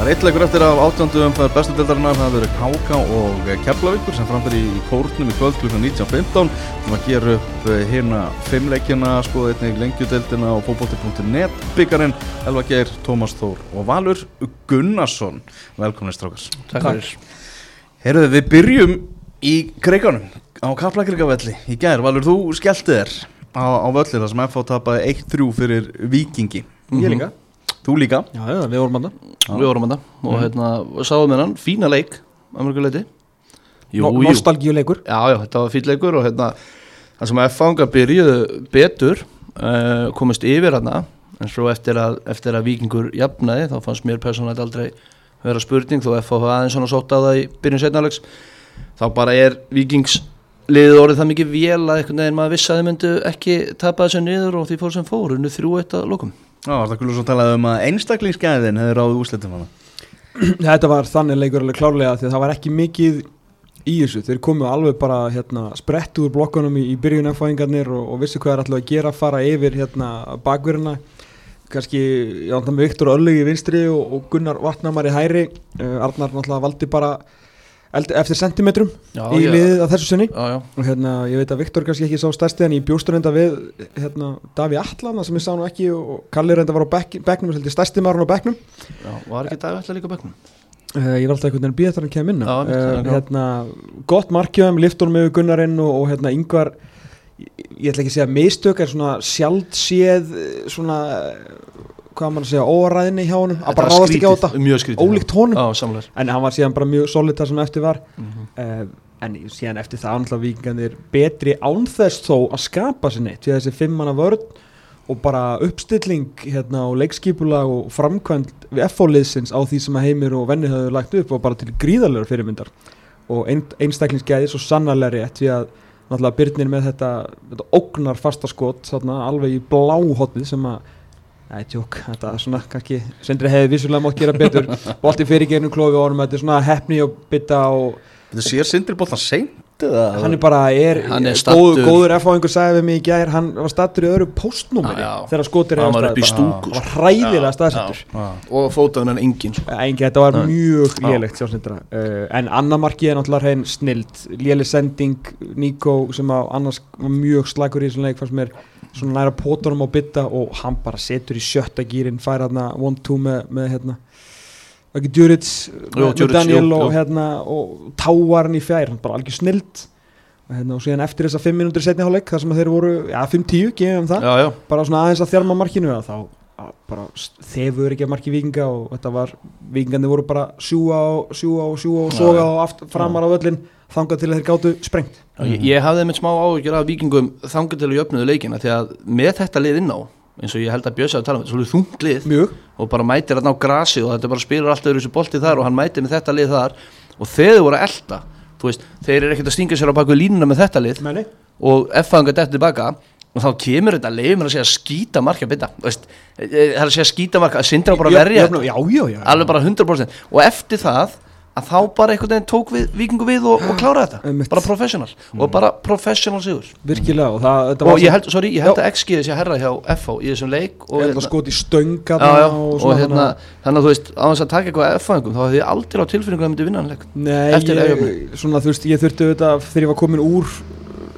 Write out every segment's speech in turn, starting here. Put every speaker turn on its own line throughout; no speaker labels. Eittleikur eftir af átjöndu umfæður bestu deildarinnar það verður Káka og Keflavíkur sem framfyrir í kórnum í kvöld kl. 19.15 sem að gera upp hérna fimmleikina, skoða einnig lengjudeildina og fókbóti.net byggarinn Elva Geir, Tómas Þór og Valur Gunnarsson, velkomin strákars
Takk fyrir
Herðu, við byrjum í kreikanum á Kaplakrikavelli í gær, Valur, þú skellti þér á, á völlir þar sem FH tapaði 1-3 fyrir Vikingi
Ég líka
Þú líka
Mhm. Já, já, við vorum að
Já.
Mhm. Við vorum þetta og
Mhm.
hérna sáðum við hann, fína leik að mörgu leiti
það Nostalgíuleikur
Já, já, þetta var fín leikur og hérna það sem að fanga byrjuðu betur uh, komist yfir hana en svo eftir að, eftir að vikingur jafnaði þá fannst mér persónlega aldrei vera spurning þó FH hafði aðeins svona sótt á það í byrjun setnalegs þá bara er vikings liðið orðið það mikið vél að einhvern veginn maður vissi að þið myndu ekki tapa þessu niður og því fór sem fór unnu þrjú eitt að lokum
Já, það kulur svo talað um að einstaklingsgæðin hefur ráðið úslitum hana
Þetta var þannig leikur alveg klárlega því að það var ekki mikið í þessu Þeir komu alveg bara hérna, sprett úr blokkunum í, í byrjun ennfæðingarnir og, og vissi hvað er alltaf að gera fara yfir hérna, bakverðina kannski, já, þannig með Viktor Örlug í vinstri og, og Gunnar Vatnamar í hæri uh, Arnar náttúrulega valdi bara eld, eftir sentimetrum
Já,
í
já.
liðið að þessu sinni
Já, já,
og hérna, ég veit að Viktor kannski ekki sá stærsti en ég bjóst reynda við hérna, Daví Allana sem ég sá nú ekki og Kalli reynda var á bekk, bekknum, heldur stærsti maður á bekknum
já, var ekki dag alltaf líka bæknum
uh, ég var alltaf einhvern veginn að býða þar hann kemur inn á.
Já,
uh,
einmitt, já.
hérna, gott markjöðum, liftunum yfir Gunnarinn og, og hérna yngvar ég, ég ætla ekki að segja mistök er svona sjaldséð eh, svona eh, hvað á maður að segja, óræðinni hjá honum að bara ráðast ekki á þetta,
Mjög skrítið
ólíkt honum
Já, samlega
en hann var síðan bara mjög solid þar sem eftir var
mm -hmm.
uh, en síðan eftir það annaðlega vikingarnir betri ánþess þó að skapa sér neitt því að þessi fimmanna vörn og bara uppstilling hérna og leikskipulag og framkvæmt við FO-liðsins á því sem að heimir og venni hafðu lagt upp og bara til gríðarlegur fyrirmyndar og ein, einstaklingsgæði svo sannarlega rétt því að náttúrulega Byrnir með þetta, þetta ógnar fasta skot þarna, alveg í bláhotnið sem að Æ, tjók, þetta er svona kannski, sendri hefði vissulega mátt gera betur, bolti fyrir genum klófi og orðum, þetta er svona hefni og bytta og
Þetta sér Sindri Bóttan seint eða?
hann er bara er,
Hann er
góður,
staddur.
góður F-áingur sagði við mig í gær hann var stattur í öðru postnúmeri
Já, já.
þegar skotir
Hann var upp í
hann
stúku sko.
var hræðilega staðsettur
Já.
og fótaðunan engin sko.
Engi, þetta var
Nei.
mjög
Já.
lélegt sjá Sindra. uh, en annar markið er náttúrulega hrein snild léleg sending, Nico sem að annars var mjög slagur í þessum leik fannst mér svona næra pótunum á bytta og hann bara setur í sjötta gýrin fær hérna 1-2 með, með hérna var ekki Djuric með
Djuric,
Daniel
jú,
og,
jú.
Hérna, og táar hann í fjær hann bara algjör snild og, hérna, og síðan eftir þessa 5 minútur setni hálfleik þar sem að þeir voru, já 5-10 gefum þeim það
Já, já,
bara svona aðeins að þjarma markinu að þá að bara st- þefur ekki að marki vikinga og þetta var, vikingandi voru bara sjúa og sjúa og sjúa og
Já,
soga
já.
og aft, framar á völlin þangað til að þeir gátu sprengt
ég, ég hafði einmitt smá áhyggjur af vikingum þangar til að jöfnuðu leikina því að með þetta lið inn á eins og ég held að Björns að tala um þetta, svolítið þungt lið
mjög,
og bara mætir hann á grasi og þetta bara spilur alltaf öðru þessu bolti þar og hann mætir með þetta lið þar og þeir voru að elta þú veist, þeir eru ekkert að stinga sér á baku línuna með þetta lið
menni
og ef hann gæti eftir tilbaka og þá kemur þetta leið með að segja skýta marka bita, veist, eh, eh, það er að segja skýta marka að sindra bara að verja þetta.
já, já, já, já.
alveg bara 100% og eftir það að þá bara einhvern veginn tók við, vikingu við og, og klára þetta,
Einmitt.
bara professional og bara professional sigur
virkilega og það, þetta
og
var
ég held, sorry, ég held
Já.
að XG þessi herra hjá FH í þessum leik og,
og hérna skoti stöng
já,
þarna
já,
og
og,
svona
hérna, þannig að þú veist á þess að taka eitthvað FH-engum þá hefði ég aldrei á tilfinningu að myndi vinna hann leik
Nei,
Eftir
ég,
æfinguna.
svona þú veist, ég þurfti auðvitað þegar ég var komin úr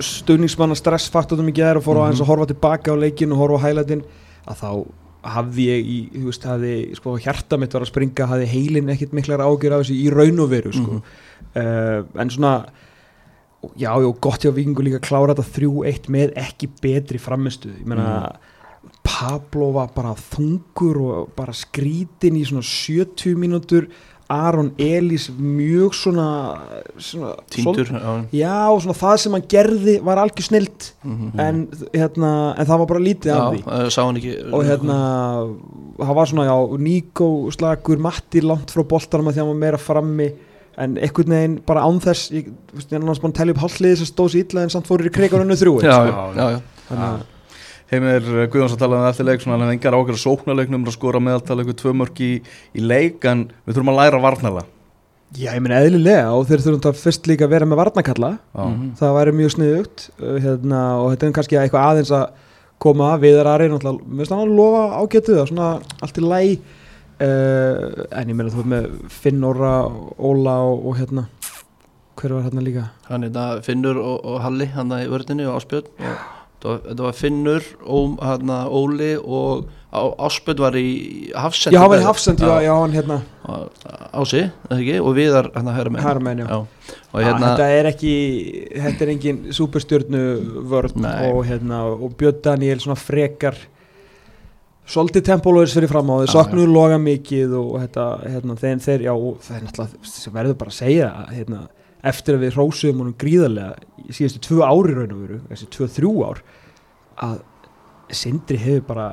stöðningsmanna stressfaktotum í gerð og fór á aðeins að horfa tilbaka á leikin og horfa á hælætin að þá hafði ég, í, þú veist, hafði sko, hjarta mitt var að springa, hafði heilin ekkit miklar ágjur af þessu í raun og veru sko. uh, en svona já, já, gott hjá vikingu líka að klára þetta 3-1 með ekki betri framistu ég meina, Pablo var bara þungur og bara skrítin í svona 70 mínútur Aron Elís mjög svona, svona
tíndur
svol-
já,
Já, svona það sem hann gerði var algjör snilt
mhm.
en, hérna, en það var bara lítið af því
já, eh, sá hann ekki
og hérna, það var svona, já, Níko slagur, Matti langt frá boltanum að því að hann var meira frammi en einhvern veginn bara án þess ég, þú veist, ég er annars búin að telja upp hálfliði sem stóð sér illa en samt fórir í kreikarunni þrjú
já, já,
sko.
já, já.
þannig að
Heimir eh, Guðjóns að tala um eftir leik svona hann hefði engar ákveður sóknarleiknum að skora meðaltal eitthvað tvö mörk í, í leik en við þurfum að læra varnala
Já, ég meina eðlilega og þeir þurfum þetta fyrst líka að vera með varnakalla
Mhm.
það væri mjög sniðugt uh, hérna, og þetta er kannski eitthvað aðeins að koma viðar aðri, náttúrulega, mér finnst hann að lofa ágætu það, svona allt í læ uh, en ég meina þú veit með Finn Orra, Óla og, og hérna hver var hérna líka
hann er þetta Finnur og, og Halli hann í vördinni og Áspjörn og þetta var- þetta var Finnur, Óm, hann Óli og Á- Áspjörn var í Hafsend
já, hann var í Hafsend, já, já, hann hérna
Ási, eða ekki, og Viðar hann að höra með
Hermenn, já
og hérna,
þetta er ekki, þetta er engin superstjörnu vörn
Nei.
og, hérna, og Björn Daniel svona frekar svolítið tempólóðis fyrir fram á þeir
Já,
saknuðu loga mikið og þetta, hérna, þeir, þeir já, og það er náttúrulega, sem verður bara að segja hérna, eftir að við hrósuðum honum gríðarlega í síðustu tvö ári raun og veru þessi tvö, þrjú ár að Sindri hefur bara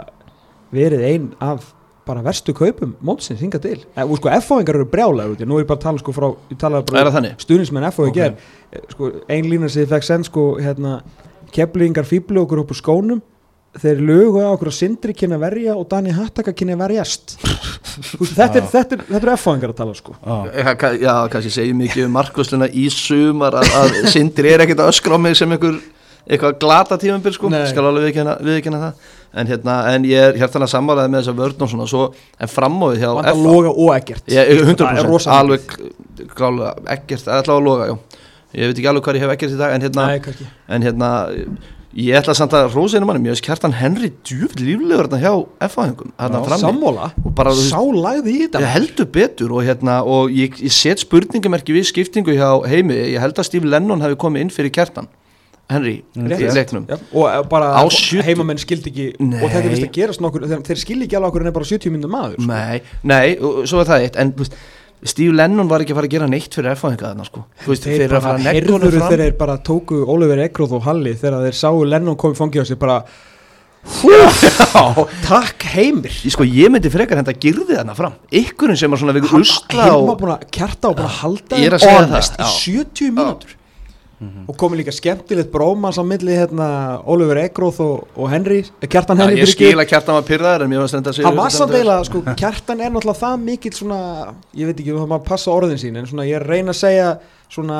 verið ein af bara verstu kaupum mótsins hinga til, e, og sko F-fóðingar eru brjálæður út, í, nú er ég bara að tala sko frá ég tala bara
er það þannig
stuðnismenn F.O. í
Ok.
ger sko, ein lína sem ég fekk send sko, hérna, keflingar fýblu okkur upp úr skónum þeir lugu að okkur að Sindri kynna að verja og Dani Hattaka kynna að verjast Þú veist, þetta, er, þetta, er, þetta er F.O.ingar að tala sko.
Já,
Já, ka- já, kannski segir mikið um markvösluna í sumar að, að Sindri er ekkert að öskra á mig sem einhver eitthvað glata tímumbil sko,
Nei.
skal alveg viðkynna, viðkynna það en, hérna, en ég er hjartan að samvaraði með þessa vörn og svona, svo, en framóðið hjá
vant að
FH
loga og ekkert
ég, ég-
Það er
100%
rosa
alveg k- klálega, ekkert, allavega að loga já. ég veit ekki alveg hvað ég hef ekkert í dag en hérna,
Nei, kannski.
en, hérna ég ætla samt að rósa einu mannum, ég veist hjartan Henry djúfitt líflegur hérna hjá FH-hengum hérna frammi
sammála,
og bara þú veist
sá lagði í þetta
Ég heldur betur og hérna og ég, ég set spurningamerki við skiptingu hjá heimi ég held að Steve Lennon hefði komið inn fyrir kjartan Henry í
Rétt.
leiknum
Já, og eh, bara
um. Á sjötíu-
heimamenn skildi ekki
Nei.
og þetta vist að gerast nokkur þeir, þeir skildi ekki alveg okkur en er bara 70 minnum maður sko.
Nei, nei, og- og svo er það eitt en þú veist, Steve Lennon var ekki að fara að gera neitt fyrir erfáðinga þarna sko Þú veist,
þeir
fyrir að
bara
fara að negla honum
herður
fram
þegar þeir bara tóku Oliver Ekroð og Halli þegar þeir sáu Lennon komið fangið á sig bara
Já,
takk heimir
ég- sko ég myndi frekar henda girði þarna fram ykkurinn sem var svona vegur usla
Hilma
og
búin að kjarta og búin að halda
Ég er að
þeim
segja það,
honest í
já. Mhm.
70 mínútur og komið líka skemmtilegt brómans á milli hérna Oliver Ekroth og, og Henry eh, kjartan
Já,
Henry
ég
Birgir.
skil að kjartan var pyrraðar en mér var stendast
hann var samt eiginlega sko kjartan er náttúrulega það mikill svona ég veit ekki um það maður passa orðin sín en svona ég er að reyna að segja svona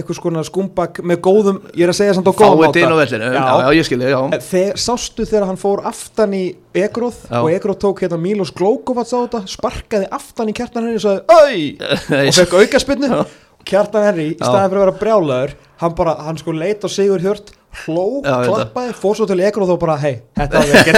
eitthvað skona skumbak með góðum ég er að segja samt á góðum
fáið inn á vellinu, já, já, ég skil, já
Eh, Þegar sástu þegar hann fór aftan í Egróð
Já.
og Egróð tók hérna Milos Glókovats á þetta sparkaði aftan í kjartan henni og sagði Öy!
Nei,
og fekk aukaspinnu
Já.
kjartan henni í staðan fyrir að vera brjálaður hann bara, hann sko leit á Sigur Hjört hló,
Já, ég veit það.
klappaði, fór svo til Egróð og bara hei, þetta var ekki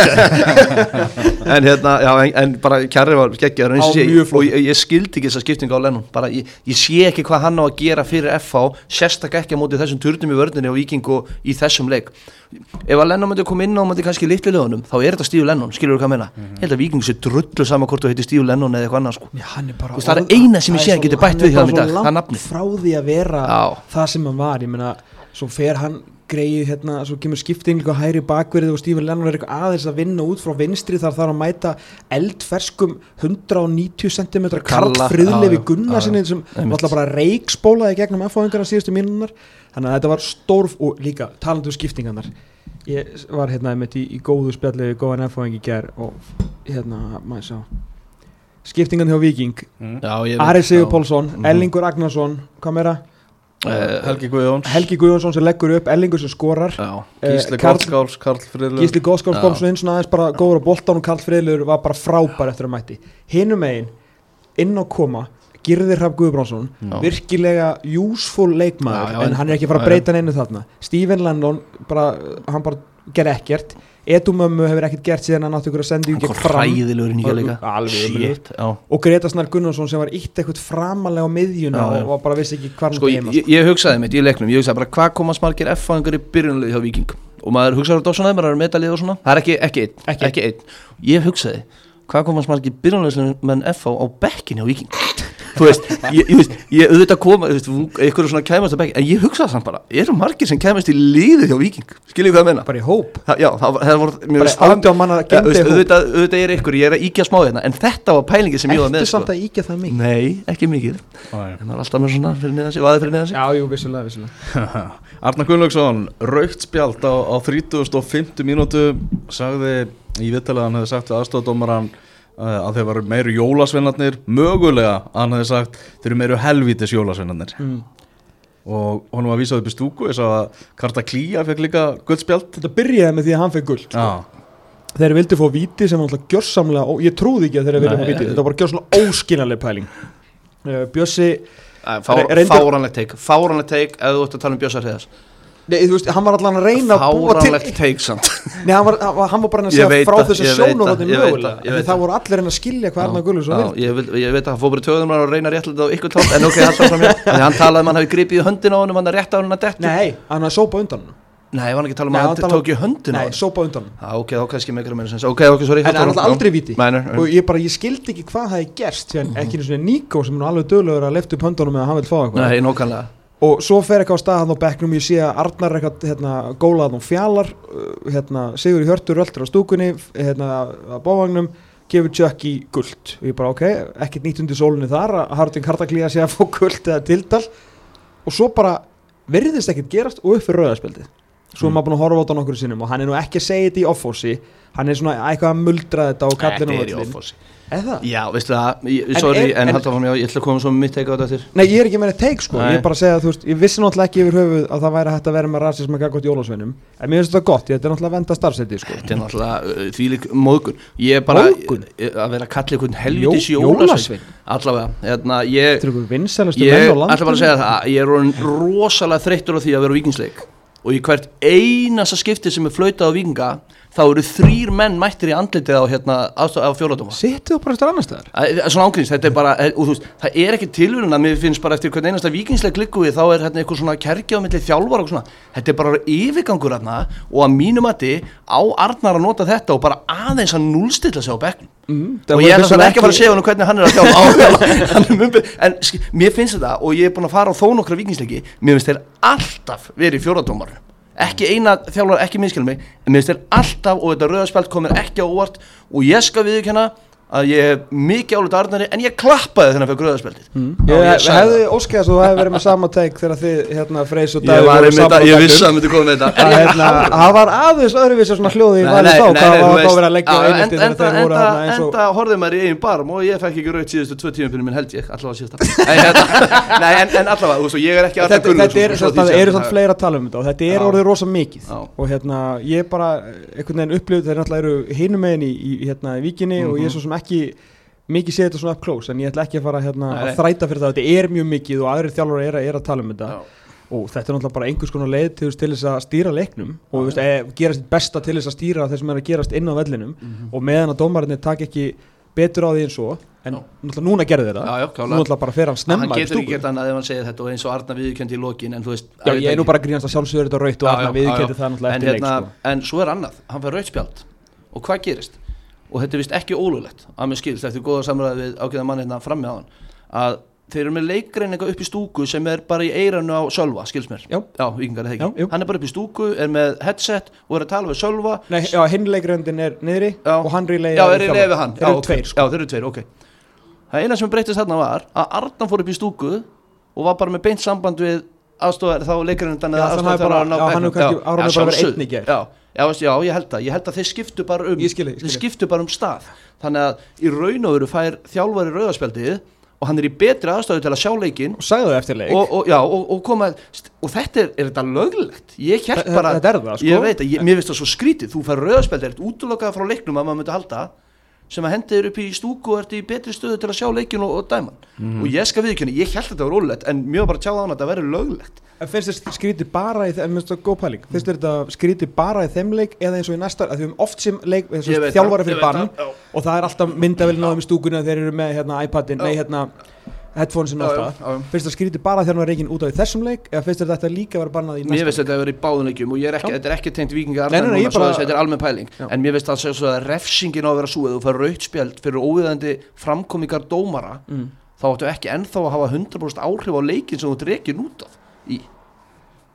en hérna, já, en, en bara kjarri var geggjaður eins og
Á,
sé-
mjög flott.
og ég, ég skildi ekki þessa skiptingu á Lennon bara ég, ég sé ekki hvað hann á að gera fyrir FH sérstak ekki á móti þessum turnum í vördinni og vikingu í þessum leik ef að Lennon myndi koma inn á móti kannski litlu lögunum þá er þetta Stíu Lennon, skilur þú hvað ég meina
Mhm.
ég held að vikingu sé drullu sama hvort þú heitir Stíu Lennon eða eitthvað annað sko
Já, hann er
Þú
bara
veist, það er
orð-
eina sem ég
það
sé að
er
geti
svo-
bætt
hann
við hjá
bara
honum í
svo
dag, það
langt
nafnið.
frá því að vera
Já.
það sem hann var, ég meina svo fer hann greið hérna svo kemur skipting og hæri bakverðið og Stífur Lennon er eitthvað aðeins að vinna út frá vinstri þar þarf að mæta eldferskum 190 cm Karl
Kalla, já,
Friðlefi
já, já,
Gunnarsinni
já,
sem
einmitt.
alltaf bara reikspólaði gegnum aðfáðingarna síðustu mínunar þannig að þetta var stórf og líka talandu skiptingarnar ég var hérna einmitt í, í góðu spjalli við góðan aðfáðing í ger og hérna maður sá skiptingan hjá Viking
Mhm.
já, ég veit- Mhm.
Ari Sigur
já.
Pálsson, Ellingur Agnarsson hvað meira?
Eh,
Helgi Guðjóns
Helgi Guðjónsson sem leggur upp, Ellingur sem skorar
já,
eh,
Gísli
Karl-
Gottskáls, Karl Friðlund
Gísli Góðskáls
Já.
kom svo inn svona aðeins bara góður á boltan og Karl Friðlur var bara frábær eftir að mætti hinum megin, inn á koma Girðir Hrafn Guðbránsson
Já.
virkilega useful
Já,
leikmaður
já,
en
en-
hann er ekki að fara að
já, já.
breyta neinu þarna Stephen Lennon, bara, hann bara ger ekkert, Edumömmu hefur ekkert gert síðan hann átti ykkur að senda
hann
ykkur
kom
fram
hræðilegur inn í hér líka
Alveg ömurlegur.
Shit, já
og Greta Snær Gunnarsson sem var ítt eitthvað framalega á miðjuna
Já, já.
og var bara vissi ekki hvað hann
sko,
sko,
ég,
heima
ég- ég hugsaði mitt í leiknum, ég hugsaði bara hvað komast margir F-fæðingar í byrjunlið hjá Viking og maður hugsaði þetta á svona, maður er metalið og svona það er ekki, ekki einn,
Ekki
ekki,
einn.
einn ég hugsaði, hvað komast margir byrjunliðsmenn F-fá á bekkin hjá Viking þú veist, ég, ég, veist, ég auðvitað koma, þú veist, ykkur er svona kæmast á bekkin, en ég hugsaði samt bara, eru margir sem kæmast í liðið hjá Viking, skiljið hvað ég meina
bara í hóp
Það- Já, það, var- það voru mér
bara
finnst það-
átjá manna
Já, þú
gemdi
veist,
í hóp
auðvitað, auðvitað er ykkur, ég er að íkja smá hérna en þetta var pælingi sem ég var með sko.
Ertu samt að íkja það mikið?
Nei, ekki mikið
Nei.
En maður er alltaf með svona fyrir neðan sig, vaðið fyrir neðan sig
Já, jú, vissulega, vissulega
Arnar Gunnlaugsson, raukt spjald á, á 35. mínútu sagði í vittalega hann hefði sagt við aðstofdómaran uh, að þeir varu meiru jólasveinarnir mögulega að hann hefði sagt þeir eru meiru helvítis jólasveinarnir
Mm.
og honum var vísað upp í stúku ég sá að Karta Klía fekk líka guldspjald
Þetta byrjaði með því að hann fekk guld
Já,
þeir vildi fá víti sem var alltaf gjörsamlega og ég trúði ekki að þeir vildi
Nei,
fá víti
eh,
þetta var bara gjörsamlega óskiljanleg pæling Eh, Bjössi,
Æ, fár,
Re- reyndar-
fáranlegt teik fáranlegt teik ef þú ert að tala um Bjössa Hreðars
nei þú veist, hann var allan að reyna að búa til
fáranlegt teik samt
Nei, hann var, hann var- hann var bara að
Ég
segja
veit
frá
það,
þess að
ég veit það,
sjónurhóðin
ég veit
mögulega
það, ég
Því
veit
það voru allir en að skilja hvað Arnar Gullus
Já, ég, vil, ég veit að hann fór bara í töðum og reyna að rétta þetta á ykkur tón en ok, alltaf fram hjá Því hann talaði um hann hafi gripið í höndin á honum hann að rétta á hann að dettu
Nei, hann hafði sópað undan honum.
Nei, var hann ekki að tala um
Nei,
að
hann
hann
talaði-
tók í höndin á
Nei,
honum
sópað undan honum.
Já, ok, þá kannski meikar meira sens Ok, ok, sorry
En það er alltaf aldrei víti
Mænur,
Og ég bara, ég skildi ekki hvað það er gerst Sér ekki einu svona Nico sem er nú alveg döglegur að lefta upp höndunum eða hann vil fá eitthvað
nei, nókanlega
Og svo fer eitthvað á stað hann á bekknum Ég sé að Arnar er eitthvað, hérna, gólað hann fjalar uh, Hérna, Sigur Hjörtur öllur á stúkunni f- Hérna, að bóvagnum gefur Chuck í guld og ég bara ok, ekkert nýtt undir sólinni þar að Harding Hardaglía sé að fá guld eða tildal og svo bara verðist ekkert gerast og upp fyrir rauðarspjaldið svo er
Mm.
maður búin að horfa á þetta nokkur sinnum og hann er nú ekki að segja þetta í offósi hann er svona eitthvað að muldra þetta og kallin á
Þetta er í
öllin
offósi
eða?
Já, veistu það, ég-
En
sorry,
er-
en
en-
halda fram hjá Ég ætla að koma svo með mitt teika á þetta þér
Nei, ég er ekki með neitt teik sko,
Nei.
ég er bara að segja að þú veist, ég vissi náttúrulega ekki yfir höfuð að það væri hægt að vera með rasism að gagga út jólasveinum, en mér finnst þetta gott, ég þetta er náttúrulega að venda starfseti sko.
Þetta er náttúrulega uh, þvílík móðgun Ég er bara
Móðgun?
ég- Að vera að kalla einhvern helvitis
Jó-
jólasvein
Jólasvein,
Allavega, hérna, ég
þetta er ykkur vinsælustu
Ég
menn á
ætla bara að segja það, ég er orðin rosalega þreyttur á því að vera á vikingsleik og í hvert einasta skipti sem er flautað á vikinga þá eru þrýr menn mættir í andlitið á, hérna, á, á fjóladóma
Sittu þú bara eftir annars staðar?
Svona ángríns, þetta er bara, eh, og þú veist, það er ekki tilvíðun að mér finnst bara eftir hvern einasta vikingsleik klikku við þá er hérna eitthvað svona kergi á milli þjálfar og svona, þetta er bara yfirgangur hérna og að mínum mati á Arnar að nota þetta og bara aðeins að núlstilla sig á bekknum
Mm,
og ég er þess að ekki að fara að segja honum hvernig hann er að þjálfa á- hann er mumbið, en sk- mér finnst þetta og ég er búin að fara á þó nokkra vikingsleiki mér finnst þeir alltaf verið fjóradómar ekki eina þjálfar, ekki minnskjálf mig en mér finnst þeir alltaf og þetta rauðarspjald komir ekki á óvart og ég skal viðurkenna að ég er mikið álita Arnari en ég klappaði þennan fyrir rauðarspjaldið mm.
Ég hefði óskæðast að þú hefði verið með sama teik þegar þið, hérna, Freys og Davíð
ég var
voru
einmitt
saman á
að, ég
bekknum.
vissi að hann myndi koma með þetta
Það hérna, það var aðeins öðruvísi svona hljóði í valið þá, hvað var þá verið að leggja á
einelti
einelti þegar þeir voru
enda,
þarna eins og
enda horfði maður í eigin barm og ég fekk ekki raut síðustu tvö tíum fyrir minn held ég allavega síðasta en, hérna, nei, en, en allavega, þú veist, og ég er ekki
Þetta,
Arnar Gunnlaugsson,
þetta er,
svo
þetta
því sé.
eru samt fleira að tala um þetta og þetta er
Já.
orðið rosa mikið
Já.
og hérna ég bara einhvern veginn upplifði þeir náttúrulega eru hinum megin í, í, hérna, í víkinni og
Mhm.
ég er svo sem ekki mikið sé þetta svona up close en ég ætla ekki að fara hérna,
Nei,
að
nei.
þræta fyrir það þetta er mjög mikið og aðrir þjálfur er, að- er að tala um þetta
Já.
og þetta er náttúrulega bara einhvers konar leið til, til þess að stýra leiknum og þú veist, e, gera sitt besta til þess að stýra þeir sem er að gerast inn á vellinum
Mhm.
og meðan að dómarinni tak ekki betur á því en svo en
Já.
náttúrulega núna gerði þeir það
Já, já,
Nú
klálega.
náttúrulega bara fer hann snemma
hann
upp
getur
stúkuna.
ekki gert annað ef hann segir þetta og eins og Arna viðkjöndi í lokin en þú veist
Já,
veit
ég er nú
ekki.
bara að grínast að sjálfsögur þetta raut og
Já,
hann
já,
við
já, já.
getur það náttúrulega
En
eftir leik
hérna,
sko.
en svo er annað, hann fær rautspjald og hvað gerist? og þetta er vist ekki ólulegt að mér skilst eftir góða samræði við ákveða mann hérna fram með hann að þeir eru með leikreininga upp í stúku sem er bara í eiranu á Sölva, skilst mér
Já.
já vikingar er það
Já,
ekki,
jú.
hann er bara upp í stúku er með headset og er að tala við Sölva
Nei, já, hinn leikröndin er niðri
Já.
og hann reyla
já, er í leið við hann
Þeir eru
já,
tveir
ok.
sko
já, þeir eru tveir, ok það eina sem breytist þarna var að Arnan fór upp í stúku og var bara með beint samband við aðstofar þá leikarinn
Já, þannig að bara- já, hann hefur kannski- Aron hefur bara verið einn í gær.
já, já, veist, já, ég held að ég held að þeir skiptu bara um
Ég skil þig, ég skil
þeir
þig.
skiptu bara um stað þannig að í raun og veru fær þjálfari rauðarspjaldið og hann er í betri aðstofu til að sjá leikinn
Og sagði þau eftir leik
og, og, já, og, og, koma, st- og þetta er, er þetta löglegt ég
Þe-
held
þe-
bara
Þetta er það sko
ég veit að ég, mér finnst það svo skrítið þú fær rauðarspjald, ert útlokað frá leiknum að maður myndi halda sem að hendi þér upp í stúku og ert í betri stöðu til að sjá leikin og, og dæman
Mhm.
og ég skal viðkynna, ég held þetta var rólegt en mér var bara að tjáða hann að þetta verður löglegt
En finnst þér skríti bara í þeim, en minnst það góð pæling Finnst þér þetta skríti bara í þeim leik eða eins og í næsta, að því við höfum oft sem leik eins
Ég
og
veit
þjálfara
það,
fyrir
ég veit
barn
það, já.
og það er alltaf myndavillin á þeim í stúkunni að þeir eru með hérna iPadin, nei
Já.
hérna headphonesin og
Já, já,
allt
já, já.
það Finnst þér skríti bara þegar hann var reikin út af í þessum leik eða finnst þér þetta líka vera bannað í
mér
næsta
finnst þetta að verður í báðunleikjum og ég er ekki,
Já.
þetta er ekki tengt vikingar
Nei, nei, nei, ég bara-
þetta er almenn pæling
Já.
en mér finnst það að, að refsingin á að vera sú eða þú fær rauðspjald fyrir óviðandi framkomingar dómara
Mm.
þá áttu ekki ennþá að hafa 100% áhrif á leikin sem þú drekin út af í.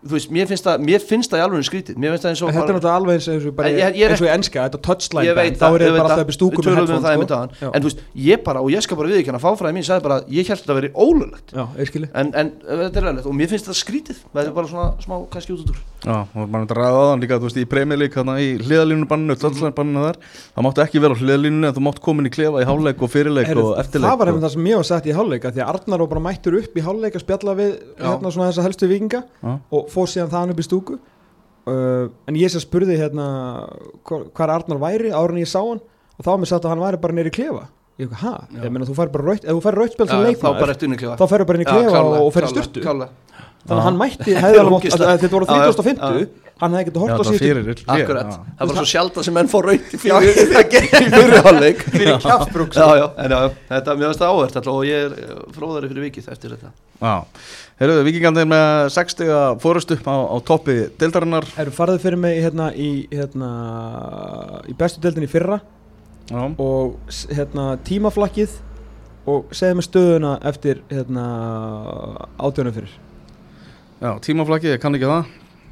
þú veist, mér finnst það mér finnst það í alveg skrítið mér finnst það eins og
Þetta er
bara-
náttúrulega alveg eins og, eins og, bara,
En ég- ég er
eins og í enska, þetta touchline
ég
band,
veit
þá
það,
eru
ég
þeir
veit
bara
það.
alltaf upp í stúkum
við tölum um það einmitt áðan
sko. Já.
en þú veist, ég bara, og ég skal bara viðkjanna fáfræði mín, sagði bara, ég held að það veri ólulegt
Já, ég skilji
en, en eh, þetta er alveg, og mér finnst það skrítið það er bara svona smá, kannski út út úr
Já, og maður myndi að ræða á þann líka, þú veist, í premjölík hérna í
Mhm.
hliðalínubanninu, tlallarlænbanninu þar það máttu ekki vera á hliðalínunni en þú mátt komin í klefa í háleik og fyrirleik
Heyrðu,
og eftirleik
Það var
og...
hefðin það sem ég var sett í hálfleika því að Arnar var bara mættur upp í hálfleika að spjalla við
Já.
hérna svona þessa helstu vikinga
Já.
og fór síðan þaðan upp í stúku uh, en ég sem spurði hérna hvar hvar Arnar væri ára en ég sá hann og þá var mér sagt að hann væri bara neyri klefa ég ekki, hæ,
Já.
ég meina þú fær bara rautt ef þú fær rautspjöld sem
Já, þá
leikmaður
bara eftir unni klefa
þá færðu bara inn í klefa og fer í styrtu þannig að hann mætti, hefði alveg mátt,
ógeðslegt.
að- að þetta voru
Já, já,
35 hann hefði getið
Já,
hort á
það var
síðan
fyrir fyrir-
Akkurat,
já.
það var svo sjaldan sem menn fór raut í fyrir Það gekk í fyrir hálfleik Fyrir kjaftbrúks Já, já, en já, þetta mjög veist ávert alltaf og ég er eh, fróðari fyrir vikið eftir þetta
Já, heyrðu, vikingarnir með 60 fórustu á, á toppi deildarinnar
Eru farðið fyrir mig hérna í, hérna, í bestu deildin í fyrra
Já,
og s- hérna, tímaflakkið og segðu mig stöðuna eftir hérna, átjónum fyrir
já tímaflakki, ég kann ekki það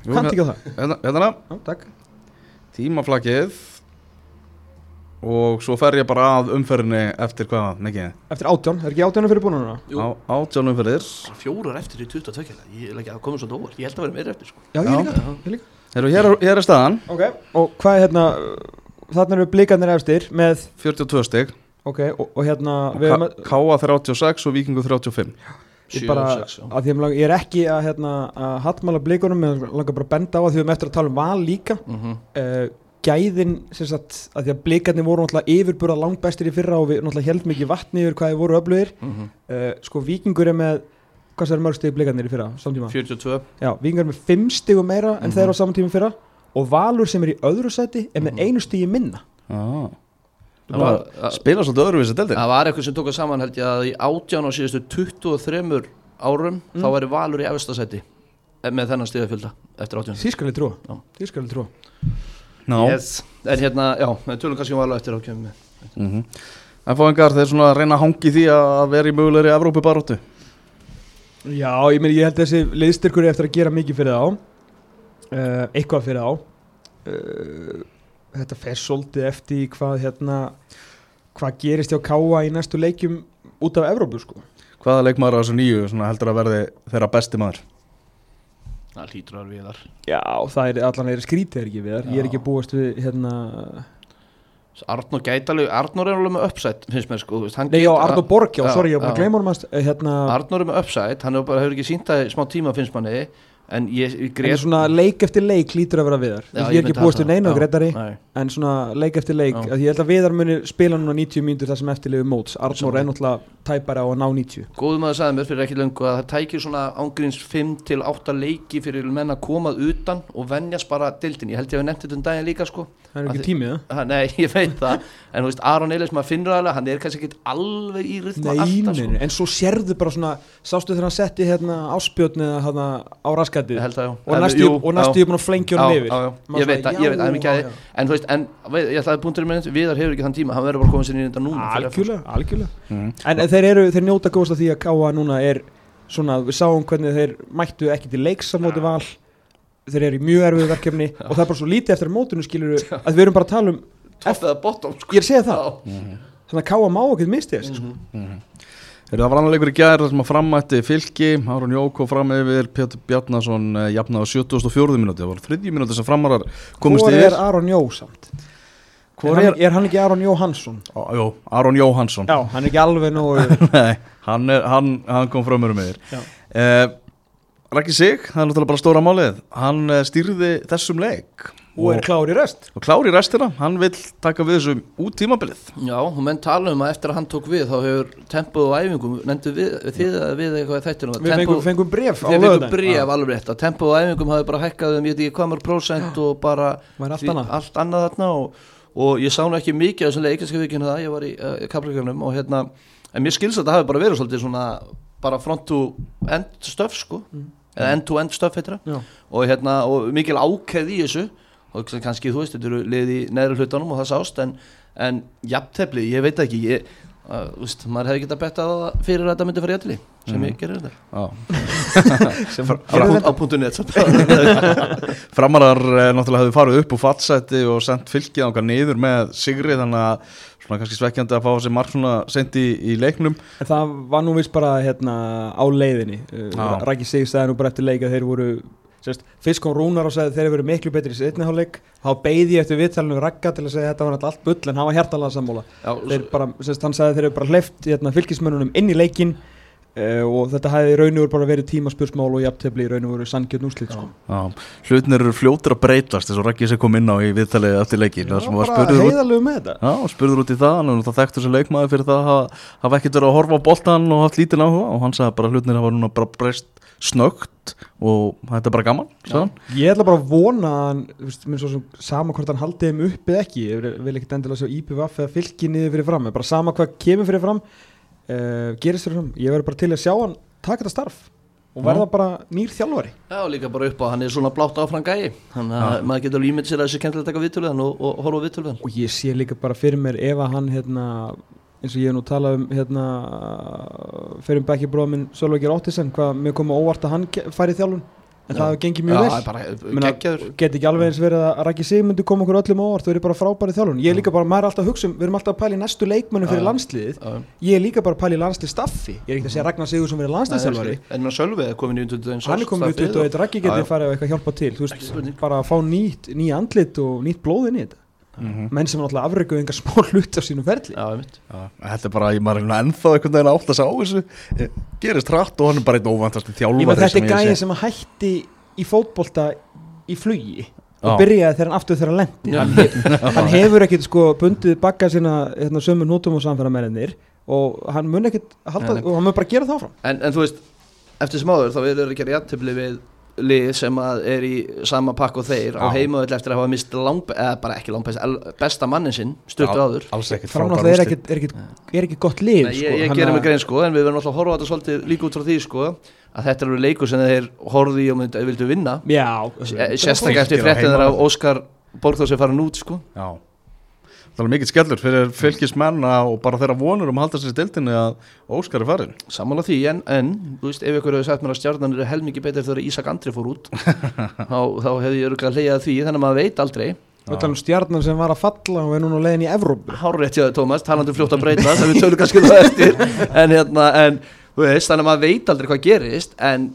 Jú,
Kannt ekki á það?
Hérna, hérna,
Já, takk
tímaflakkið og svo fer ég bara að umferðinni eftir hvað, nekki
Eftir átjón, er ekki átjónum fyrir búin núna?
Jú.
á átján umferðir
Fjórar eftir í 22 kjala. Ég er ekki að koma svo dóvar Ég held að vera meira eftir sko.
Já, ég
Já.
líka, ég líka
Heyrðu, hér, er- hér er staðan,
Ok, og hvað er hérna, þarna eru blikarnir efstir með
42 stig
Ok, og, og hérna við erum að-
Káa 36 og Víkingu 35
Ég,
Sjö,
bara,
sex, já.
að því að mig lang- ég er ekki að, hérna, að hattmála blikunum, ég langar bara að benda á að því við erum eftir að tala um val líka
Mhm.
uh, gæðin sem sagt að því að blikarnir voru náttúrulega yfirburða langbæstir í fyrra og við náttúrulega held mikið vatni yfir hvað þið voru öflugir
Mhm.
uh, sko vikingur er með hvað sem er mörg stig blikarnir í fyrra samtíma
42
já, vikingur er með 5 stigum meira en
Mhm.
þeir á samtíma í fyrra og valur sem er í öðru sæti er með
Mhm.
einu stigi minna
Já,
Það var-
spila svolítið öðruvísi deildi
Það var eitthvað sem tók að saman held ég að í átján á síðustu 23 árum þá væri Valur í efstasæti með þennan stíðafjölda eftir átján
því skal ég trúa
Já.
því skal ég trúa
Ná,
yes. En hérna, já, við tölum kannski um Valur eftir átján
mhm En fóðingar, þeir svona reyna að hangi því að vera í mögulegri Evrópu baróttu
já, ég, meni, ég held að þessi liðstyrkur er eftir að gera mikið fyrir þá uh, eitthvað fyrir þá uh, þetta fer svolítið eftir í hvað hérna hvað gerist hjá Káa í næstu leikjum út af Evrópu sko
Hvaða leikmaður á þessu nýju svona, heldur að verði þeirra besti maður?
Það hlýtur að vera við þar
Já, það er allan er skrítið er ekki við þar Ég er
Já.
ekki búast við hérna
Arnór gætalegu, Arnór er alveg með uppsætt finnst mér sko, þú veist, hann
Nei, já,
getur-
Arnó Borg, já,
Já,
sorry, ég var bara
já.
að gleyma honum hans Hérna,
Arnór er með uppsætt, hann hefur bara hefur ekki sínt það í smá tíma finnst manni en ég, ég
en svona leik eftir leik lítur að vera við þar
Já,
Ég er
myndi
ekki búast
halda
við neina
það.
og greitari
Já, nei.
En svona leik eftir leik,
Já.
að ég held að viðar muni spila núna 90 mínútur það sem eftirlegu móts Arnór
Sammála.
er náttúrulega tæpara á að ná 90
Góðum maður sagði mér fyrir ekki löngu að það tækir svona ángríns 5 til 8 leiki fyrir menn að komað utan og venjast bara dildin, ég held ég að við nefndi þetta um daginn líka sko
Það er
Að
ekki
þi-
tímið það
Ha, Nei, ég veit það, en þú veist Aron Eilis maður finnur alveg, hann er kannski ekkit alveg í rytma
Nei,
alltaf sko.
nei, nei, en svo sérðu bara svona Sástu þegar hann setti hérna áspjötn eða hérna á raskatið
Ég held það, já.
Og
En-
næstu
jú,
og
já.
næstu ég búin að flengja honum yfir
Já, já, já. ég veit það, ég veit það, mikið aðeins En þú veist, en veit, ég ætlaði punkturinn minn Viðar hefur ekki þann tíma, hann verður bara komin sér í þetta núna fyrir að-
Algjörlega, algjörlega
Mm.
En en þeir, eru, þeir njóta góðst af því að Káa núna er svona, við sáum hvernig þeir mættu ekki til leiks á móti val þeir eru í mjög erfiðu verkefni og það er bara svo lítið eftir mótinu skilur að við erum bara að tala um,
Topp eða bottom, sko
ég er að segja það
Já.
þannig að Káa má ekkert misti þessu
Mhm.
sko.
Er það var annar leikur í gær þar sem að frammætti fylki, Árún Jóko fram yfir, Pétur Bjarnason eh, jafnaði á 74. minúti, það var þriðju minúti sem framarar komist
Hvor
yfir.
er Aron Jó samt?
Hvor
Er hann,
er-
er hann ekki Aron Jó Hansson?
Á- Jó, Árún Jóhansson.
Já, hann er ekki alveg nógu
Nei, hann, er, hann, hann kom fram yfir meður.
Já.
Eh, Rækki Sig, það er náttúrulega bara stóra málið, hann eh, stýrði þessum leik
og er klár í rest
og klári restina, hann vill taka við þessum út tímabilið.
Já, og menn tala um að eftir að hann tók við þá hefur tempoð og æfingum, nefndu við, þið, við eitthvað í þættinum að
Við fengum,
tempóið-
fengum bref á
Þið fengum
lögðan
bríf alveg rétt að tempo og æfingum hafi bara hækkað um ég veit ekki hvað mörg prósent og bara
Var allt
því-
annað.
allt annað þarna og, og ég sá nú ekki mikið af þessum leik kannski vikinu það, ég var í uh, kaplakjöfnum og hérna, en mér skils að það hafi bara verið svolítið svona bara front to end stöf sko,
Mm.
eða end to end stöf heitra
Já.
og hérna, og mikil ákæð í þessu og sem kannski þú veist, þetta eru liði í neðri hlutanum og það sást en, en jafntefli, ég veit það ekki ég, uh, úst, maður hefði getað bettað á það fyrir að þetta myndi fara jætli sem
Mhm.
ég gerir þetta
Já.
sem
Gerðu
á punktu net
Framarar eh, náttúrulega hefðu farið upp úr fatsæti og sendt fylkið ánga niður með Sigri þannig að svona kannski svekkjandi að fá þessi marg svona sent í, í leiknum
En það var nú vist bara hérna, á leiðinni uh,
Já.
Rækki Sig sagði nú bara eftir leik að þeir voru sérst, fyrst kom Rúnar og sagði að þeir voru miklu betri í setni hálfleik þá beigði ég eftir viðtalinu Rækka til að segja að þetta var náttúrulega allt bull en hann var hjartalega sammála
Já,
þeir bara, sérst, hann sagði að þeir eru bara hleyft hérna, fylgismönunum inn í leikin uh, og þetta hefði í raun og veru bara verið tímaspursmál og jafntefli í raun og veru sangjörn úrslit sko.
Hlutnir eru fljótur að breytast þess að Raggi sem kom inn á í viðtalið eftir leikin þar sem var spurður út,
heiðalegu með þetta
já, og spurður út í það hann er það þekktur sem leikmaður fyrir það að hafa- hafa ekkert verið að horfa á boltan og haft lítinn áhuga og hann sagði bara að hlutnir hafa núna bara breyst snöggt og þetta er bara gaman sagði hann.
Ég ætla bara að vona að hann, þú veist, minn svo sem sama hvort hann haldið þeim upp eða ekki, ég vil- vil ekkert endilega sjá IPVF eða fylki niður fyrir fram, bara sama hvað kemur fyrir fram, uh, gerist fyrir fram, ég verður bara til að sjá hann taka þetta starf og verða bara nýr þjálfari.
Já, og líka bara upp á, hann er svona blátt áfram gæi Þannig að maður getur alveg ímynd sér að þessi kemtilega taka viðtöluðan og, og horfa á viðtöluðan
Og ég sé líka bara fyrir mér ef að hann, hérna, eins og ég hef nú talað um, hérna, fyrir um bekki bróða minn Sölvækir Óttisen, hvað mér komið óvart að hann ge- færi í þjálfun, en það hefur gengið mjög vel.
eh,
Meina,
Gekkjaður
Geti ekki alveg eins verið að að Raggi Sigmundur kom okkur öllum á óvart, þú eru bara frábæri þjálfun Ég er líka bara, maður er alltaf að hugsa um, við erum alltaf að pæla í næstu leikmönnum fyrir
Já, já.
landsliðið
Já, já.
Ég er líka bara að pæla í landslið staffi Ég er ekkert að segja Ragnar Sigur verið landsliðsjálfari
En maður Sölvi er komin í 21
Hann er komin í 21, Raggi
Já,
geti
já.
farið og eitthvað hjálpa til Þú
Ekki
veist,
spurning.
bara að fá nýtt, ný andlit og nýtt blóð inn í þetta
Mhm.
Menn sem náttúrulega afreikuð enga smá hlut á sínum ferli
Já, einmitt
Já, Þetta er bara, ég maður er nú ennþá einhvern veginn að átta sig á þessu Eh, gerist hratt og hann er bara einn óvandast
Ég með
þjálfari
þetta
sem
er
ég
gæði
sé.
sem að hætti í fótbolta í flugi og
Já.
byrjaði þegar hann aftur þegar hann lendi
Já.
hann, hef, hann hefur ekkit sko bundið bakka sína hérna, sömu nótum og samferðamennir og hann mun ekkit halda
Nei, nei.
og hann mun bara gera það áfram
en, en þú veist, eftir sem áður þá er það ekki réttöfli við lið sem að er í sama pakk og þeir á
Já.
heimaðall eftir að hafa mist lang, eða bara ekki lang, besta mannin sinn stuttu
Já,
áður
alls ekkert frábær
framnáttúrulega er,
úrslit.
ekkit- er, ekkit- er ekki gott lið
Nei,
sko,
ég, ég
hann
gerir
að-
mig grein sko, en við verðum alltaf að horfa á þetta svolítið líka út frá því sko, að þetta er alveg leikur sem þeir horfði í og myndi, vildu vinna
Já,
Eh, sérstaklega eftir
Fylkir á
fréttin þeirra
heimavelli.
af Óskar Borgþór sem farin út sko
Já Það er mikið skellur fyrir fylgismenn og bara þeirra vonur um að halda sér í deildinni að Óskar er farin
Sammála því, en, en þú veist, ef ykkur hefur sagt mér að stjarnan eru helmingi betur þegar Ísak Andri fór út þá, þá hefði ég örgulega leiðað því, þannig að maður veit aldrei
Við tala um stjarnan sem var að falla og er núna á leiðin í Evrópu
Hárrétt hjá þér, Tómas, talandi um fljótt að breyta sem við tölum kannski um það eftir en, hérna, en þú veist, þannig að maður veit aldrei hvað gerist en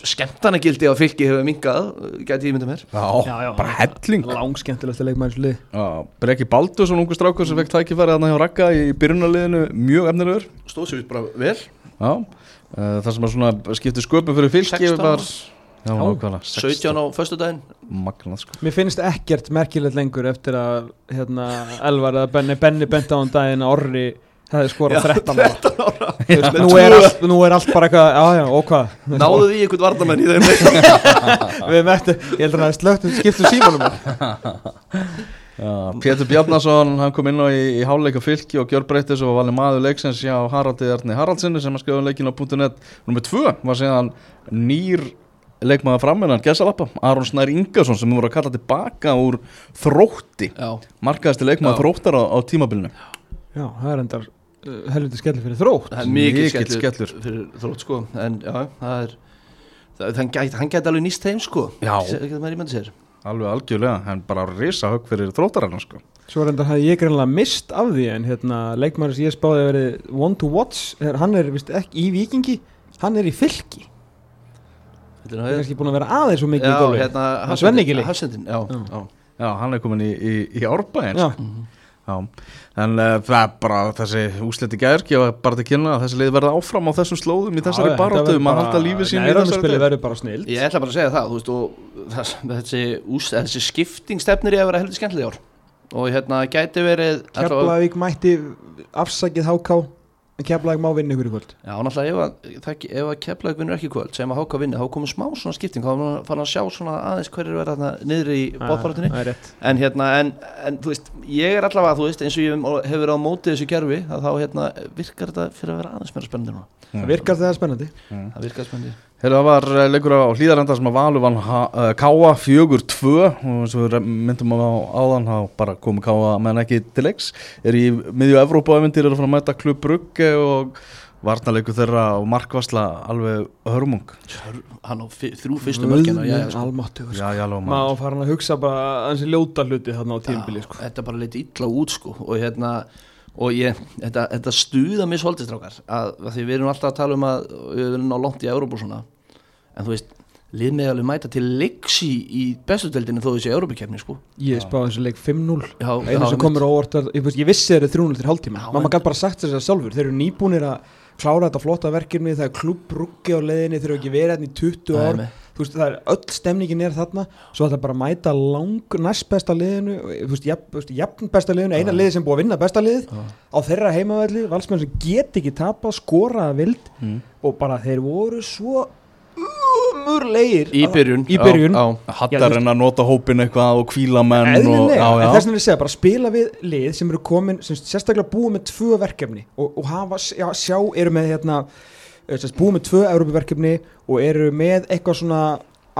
skemmtanagildi á fylki hefur minkað gæti ég myndið mér
Já, bara helling
Langskemmtilegsta leikmæðislið
Já, Breki Baldursson, ungu strákur sem fekk tækifæri þarna hjá Ragga í byrjunarliðinu mjög efnilegur
Stóð sér bara vel
Já, uh, það sem að svona skipti sköpum fyrir fylki
16
var
ára.
Já, nákvæmlega
17 á föstudaginn
Magnað sko
Mér finnst ekkert merkilegt lengur eftir að hérna, Elvar eða Benni Benni bent á hann daginn að Orri hefði skorað 13 ára, Þú veist, nú, er allt, nú er allt bara eitthvað, já já, og hvað
Náðu því einhvern varnamenn í þeim leik?
Við mættu, ég heldur að það er slögt um skiptum símanum
Já, Pétur Bjarnason, hann kom inn á í, í háluleika fylki og gjör breytis og var valið maður leiksins hjá Haraldi Arni Haraldsinni sem að skrifa um leikin á .net Númer 2 var síðan nýr leikmaður framinnan, gæsalappa, Aron Snær Ingarsson sem voru að kalla tilbaka úr þrótti,
Já,
markaðasti leikmaður þróttar á, á tímabilinu.
Já, það er endar uh, helviti skellir fyrir þrótt
það er
Mikill
mikið skellur,
skellur.
fyrir þrótt sko en já, það er það, hann, gæti, hann gæti alveg nýst þeim sko
Já.
Se- getur maður ímyndið sér
Alveg algjörlega, hann bara risa högg fyrir þróttarann sko.
Svo er endar hafði ég greinlega mist af því en hérna, leikmæður sem ég spáði að verið one to watch, er, hann er vist, ekki í vikingi, hann er í fylki
Þetta er nú
Það er
hefð-
kannski búin að vera aðeins svo mikið í
Já,
golfi
hérna
Hann Svenni Gili.
Hafsendin, já,
Já. Mhm.
já.
Já, hann er komin í, í, í árbæðin
Já,
Já, en uh, það er bara þessi úsleti gær, ég var bara til að kynna að þessi leið verða áfram á þessum slóðum í þessari baróttu, maður halda lífi sín í þessari
Næramispili
deild.
verður bara snill
Ég ætla bara að segja það, þú veist, og þess, þessi, ús, þessi skipting stefnir í að vera heldur skemmtileg í ár og hérna gæti verið allavega-
Keflavík mætti afsakið HK en Keflavík má vinna ykkur í kvöld
Já, náttúrulega ef að, það- ef að Keflavík vinnur ekki í kvöld sem að háka vinni, þá komum smá svona skipting þá erum fann að sjá svona aðeins hverjir verða þarna niður í bóðbaratunni
Það er rétt
en hérna, en, en þú veist ég er allavega, þú veist, eins og ég hefur verið á móti þessu gerfi, að þá hérna virkar þetta fyrir að vera aðeins meira spennandi núna
Það virkar þegar spennandi
það virkar spennandi
Heyrðu, það var eh, leikur á hlýðarenda sem að Valur vann Ha- eh, Káa 4-2 og eins og við re- myndum á áðan þá bara komu Káa menn ekki til leiks er í miðju Evrópa eventir eru að fara að mæta Klub Brugge og varnaleikur þeirra og markvarsla alveg hörmung
hann á fi- þrjú fyrstu mörgina já, já, sko.
almáttugur
Já, já, lóma
Má fara hann að hugsa bara hans ljóta hluti þarna á tímbili sko.
Já, þetta bara leit illa út sko og hérna og ég, þetta, þetta stuða mér svolítið strákar að, að því við erum alltaf að tala um að við erum ná langt í Európa og svona en þú veist, lið með alveg mæta til leiks í, í bestutöldinu þó þessi Európa-kefni sko
Ég spáði þessu leik 5-0
Já, já,
Einu sem
mitt.
komur á óvart var- Ég veist- ég vissi þeir eru 3-0 til hálftíma
Já,
Mamma
en-
gæti bara sagt þess að sjálfur Þeir eru nýbúnir að klára þetta flotta verkefni það er klubbruggi á leiðinni þegar ekki verið hérna í 20 ár
Nei, nei.
þú veist, það er öll stemningin er þarna svo þetta bara að mæta lang næst besta liðinu þú veist, jafn, þú veist, jafn besta liðinu eina
Já.
liði sem búið að vinna besta liðið
Já.
á þeirra heimavelli, valsmenn sem get ekki tapað skoraða vild
Mm.
og bara þeir voru svo umurlegir
Í byrjun
í byrjun
á, á.
Já, þú
Hattar
veist-
en að nota hópin eitthvað og kvíla menn og,
eðlilega,
já,
en
já.
þess vegna er ég að segja bara spila við lið sem eru komin, sem sérstaklega búið með tvö verkefni og, og hafa, já, sjá, eru með hérna, eh, sem sagt, búið með tvö Európa-verkefni og eru með eitthvað svona